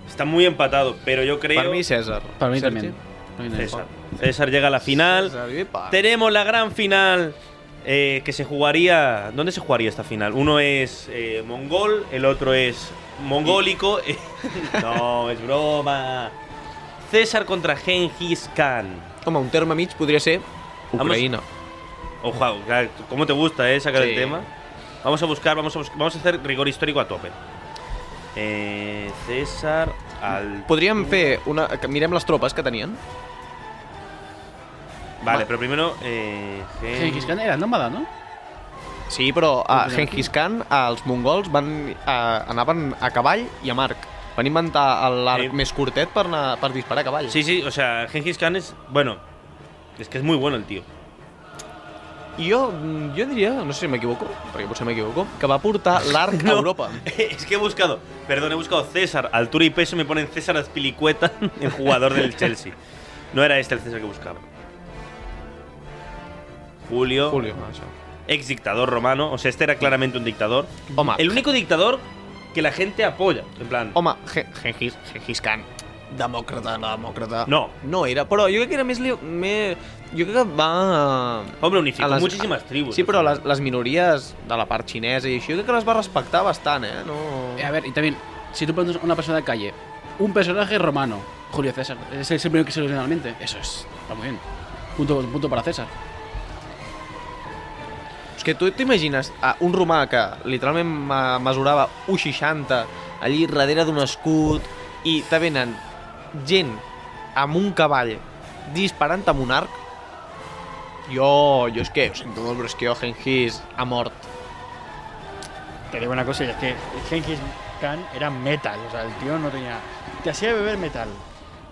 está muy empatado, pero yo creo. Per mi, César. Para mí Sergi. también. Para mí también. César. César llega a la final. César, i pa. Tenemos la gran final eh, que se jugaría. ¿Dónde se jugaría esta final? Uno es eh, mongol, el otro es mongólico. no, es broma. César contra Genghis Khan. Home, un terme mig podria ser Ucraïna. Ojo, claro, ¿cómo te gusta eh, sacar el Sí. tema? Vamos a buscar, vamos a, bus- vamos a hacer rigor histórico a tope. Eh, César al. Podríem fer una... que Mirem les tropes que tenien. Vale, pero primero. Eh, Gen- Gengis Khan era nómada, ¿no? Sí, però a Podríem. Genghis Khan, els mongols van, a, anaven a eh, cavall i a marc. Van inventar l'arc Sí. més curtet per, anar, per disparar a cavall. Sí, sí, o sea, Genghis Khan es. Bueno, es que es muy bueno el tío. I jo, mm, jo diria, no sé si m'equivoco, perquè potser m'equivoco, que va portar l'arc a Europa. es que he buscado, perdón, he buscado César, altura y peso, me ponen César Azpilicueta, el jugador del Chelsea. No era este el César que buscaba. Julio, Julio, això. ex dictador romano, o sea, este era claramente un dictador. Home, El único dictador que la gente apoya, en plan. home, Gen- Genghis, Genghis Khan, demòcrata, no demòcrata. No. No era, però jo crec que era més... Li, més jo crec que va... Hombre, a unificó les- muchísimas tribus. Sí, o però sea. les, les minories de la part xinesa i això, jo crec que les va respectar bastant, eh? No... A ver, y también, si tú pones a una persona de calle, un personaje romano, Julio César, es el primero que se le viene a la mente. Eso es, está muy bien. Punto, punto para César. És que tu t'imagines a un romà que literalment ma- mesurava 1,60 allí darrere d'un escut i te venen gent amb un cavall disparant amb un arc jo, jo és que, ho sento molt, però és que jo Genghis ha mort. Te digo una cosa, y es que Genghis Khan era metal, o sea, el tío no tenía... Te hacía beber metal.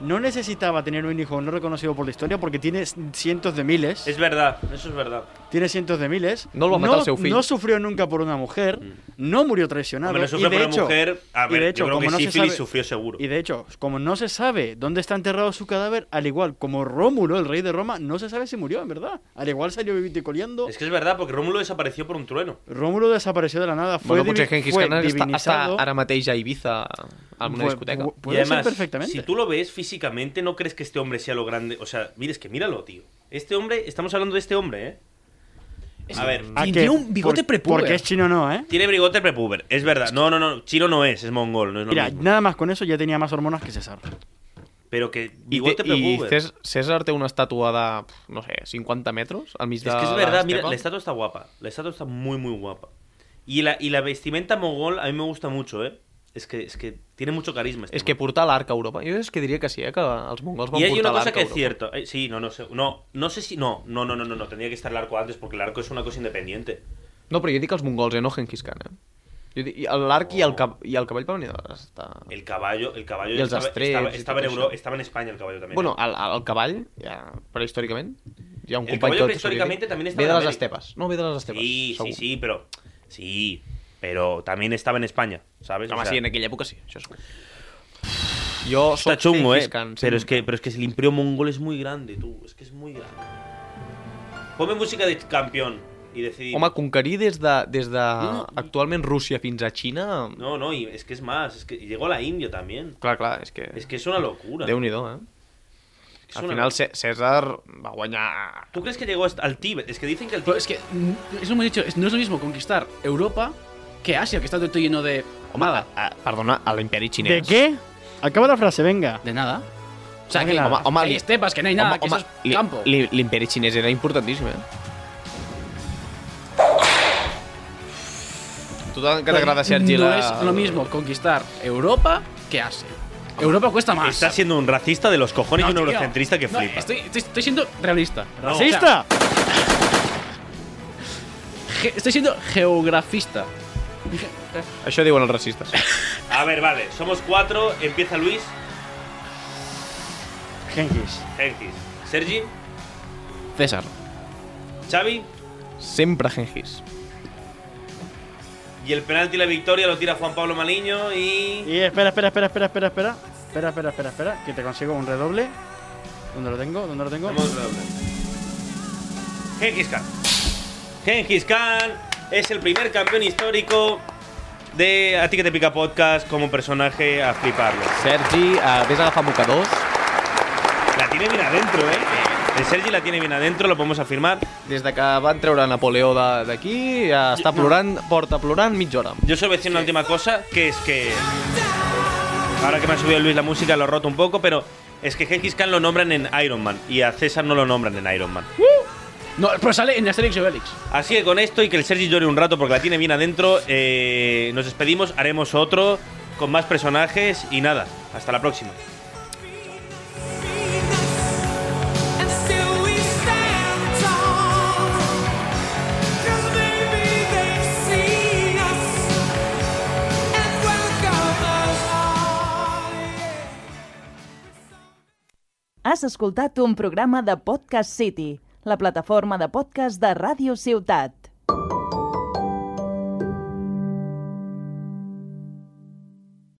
No necesitaba tener un hijo no reconocido por la historia porque tiene cientos de miles. Es verdad, eso es verdad. Tiene cientos de miles. No lo va a matar seu fill. No sufrió nunca por una mujer. No murió traicionado. Mm. Hombre, no y sufre de por una hecho, mujer. A y ver, de yo hecho, creo que como no se sífilis sabe- sufrió seguro. Y de hecho, como no se sabe dónde está enterrado su cadáver, al igual como Rómulo, el rey de Roma, no se sabe si murió, en verdad. Al igual salió vivito y coleando. Es que es verdad, porque Rómulo desapareció por un trueno. Rómulo desapareció de la nada. Fue, pues Bueno, potser divi- Genghis fue Khan està, està divinizado. ara mateix a Ibiza en una Pu- discoteca. pu- y Puede ser además, perfectamente. si tú lo ves físicamente, no crees que este hombre sea lo grande. O sea, mires que míralo, tío. Este hombre, estamos hablando de este hombre, ¿eh? A ver, ¿A Y qué? tiene un bigote Por- prepuber. Porque es chino no, ¿eh? tiene bigote prepuber, es verdad. No, no, no, chino no es, es mongol, no es lo Mira, mismo. nada más con eso ya tenía más hormonas que César. Pero que I, té, bigote I prepuber. Cés- César té una estàtua de, pf, no sé, 50 metres al mig Es de que es verdad, mira, l'estepa. la estatua está guapa. La estatua está muy, muy guapa. Y la, y la vestimenta mongol a mí me gusta mucho, ¿eh? Es que, es que tiene mucho carisma. este És que hombre. portar l'arc a Europa, jo és que diria que sí, eh, que els mongols van Y hay portar una l'arc cosa a que es Europa. cierto. Eh, sí, no, no sé. No, no sé si. No, no, no, no, no, no. Tendría que estar el arco antes porque el arco es una cosa independiente. No, però jo dic els mongols, eh, no Genghis Khan, eh? Jo dic, i l'arc Oh. i, el cap, i el cavall van venir de l'estar... El... El caballo, el caballo Y els estaba, astrets estaba, y estaba en tot Euro- això. estaba en España el caballo también. ¿eh? Bueno, el, el, el cavall, ja, prehistòricament, hi ha un El company cavall que el prehistòricament soviètic- també estava Ve de en les Amèrica. estepes, no ve de les estepes, sí, sí, segur. sí, pero sí, pero también estaba en España, ¿sabes? O Home, sea, sí, en aquella època sí, això segur. Jo soc está chungo, eh. Genghis Khan, Pero es sempre. que, pero es que el imperio mongol es muy grande, tú. Es que es muy grande. Ponme música de campeón y decidí. Home, conquerir des de, des de No, no. actualment Rússia fins a Xina... No. No, no, y es que es más, es que llegó a la India también. Clar, clar, és que... Es que es una locura. Déu-n'hi-do, eh? Es Al una- final Cé- César va guanyar ¿Tú crees que llegó hasta- al Tíbet? Es que dicen que el Pero Tíbet. es que, mm, eso hemos dicho, es- no es lo mismo conquistar Europa que Asia, que está todo lleno de. nada. Ah, perdona, a l'imperi xinès. ¿De qué? Acaba la frase, venga. De nada. O sea, Home, que, home, que home, hay li- estepas, que no hay nada, que eso es li- campo. li- L'imperi xinès era importantíssim, eh? Tu tant que t'agrada, Sergi, no la... es lo mismo conquistar Europa que Asia. Europa cuesta más. Estás siendo un racista de los cojones y No, un tío. eurocentrista que No, flipa. estoy, estoy- estoy siendo realista. No. ¡Racista! Ge- estoy siendo geografista. Això diuen els racistes. A ver, vale, somos cuatro. Empieza Luis, Genghis. Genghis, Sergi, César. Xavi Sempre Genghis. y el penalti y la victoria lo tira Juan Pablo Maliño y. Y espera, espera, espera, espera, espera, espera. Espera, espera, espera, espera. Que te consigo un redoble. ¿Dónde lo tengo? ¿Dónde lo tengo? Vamos, redoble. Genghis Khan. Genghis Khan es el primer campeón histórico de A ti que te pica podcast como personaje a fliparlo. Sergi, eh, vés a agafar mocadors. La tiene bien adentro, ¿eh? El Sergi la tiene bien adentro, lo podemos afirmar. Des de que van treure Napoleó de- d'aquí, ja està plorant, porta plorant mitja hora. Yo solo voy a decir una última cosa, que es que. Ahora que me ha subido Luis la música, lo he roto un poco, pero es que Genghis Khan lo nombran en Iron Man y a César no lo nombran en Iron Man. No, pero sale en Asterix y Obelix. Así que con esto y que el Sergi llore un rato porque la tiene bien adentro, eh, nos despedimos, haremos otro con más personajes y nada, hasta la próxima. And still we stand tall. 'Cause maybe they've seen us and welcome us all. Has escoltat un programa de Podcast City, la plataforma de podcast de Ràdio Ciutat.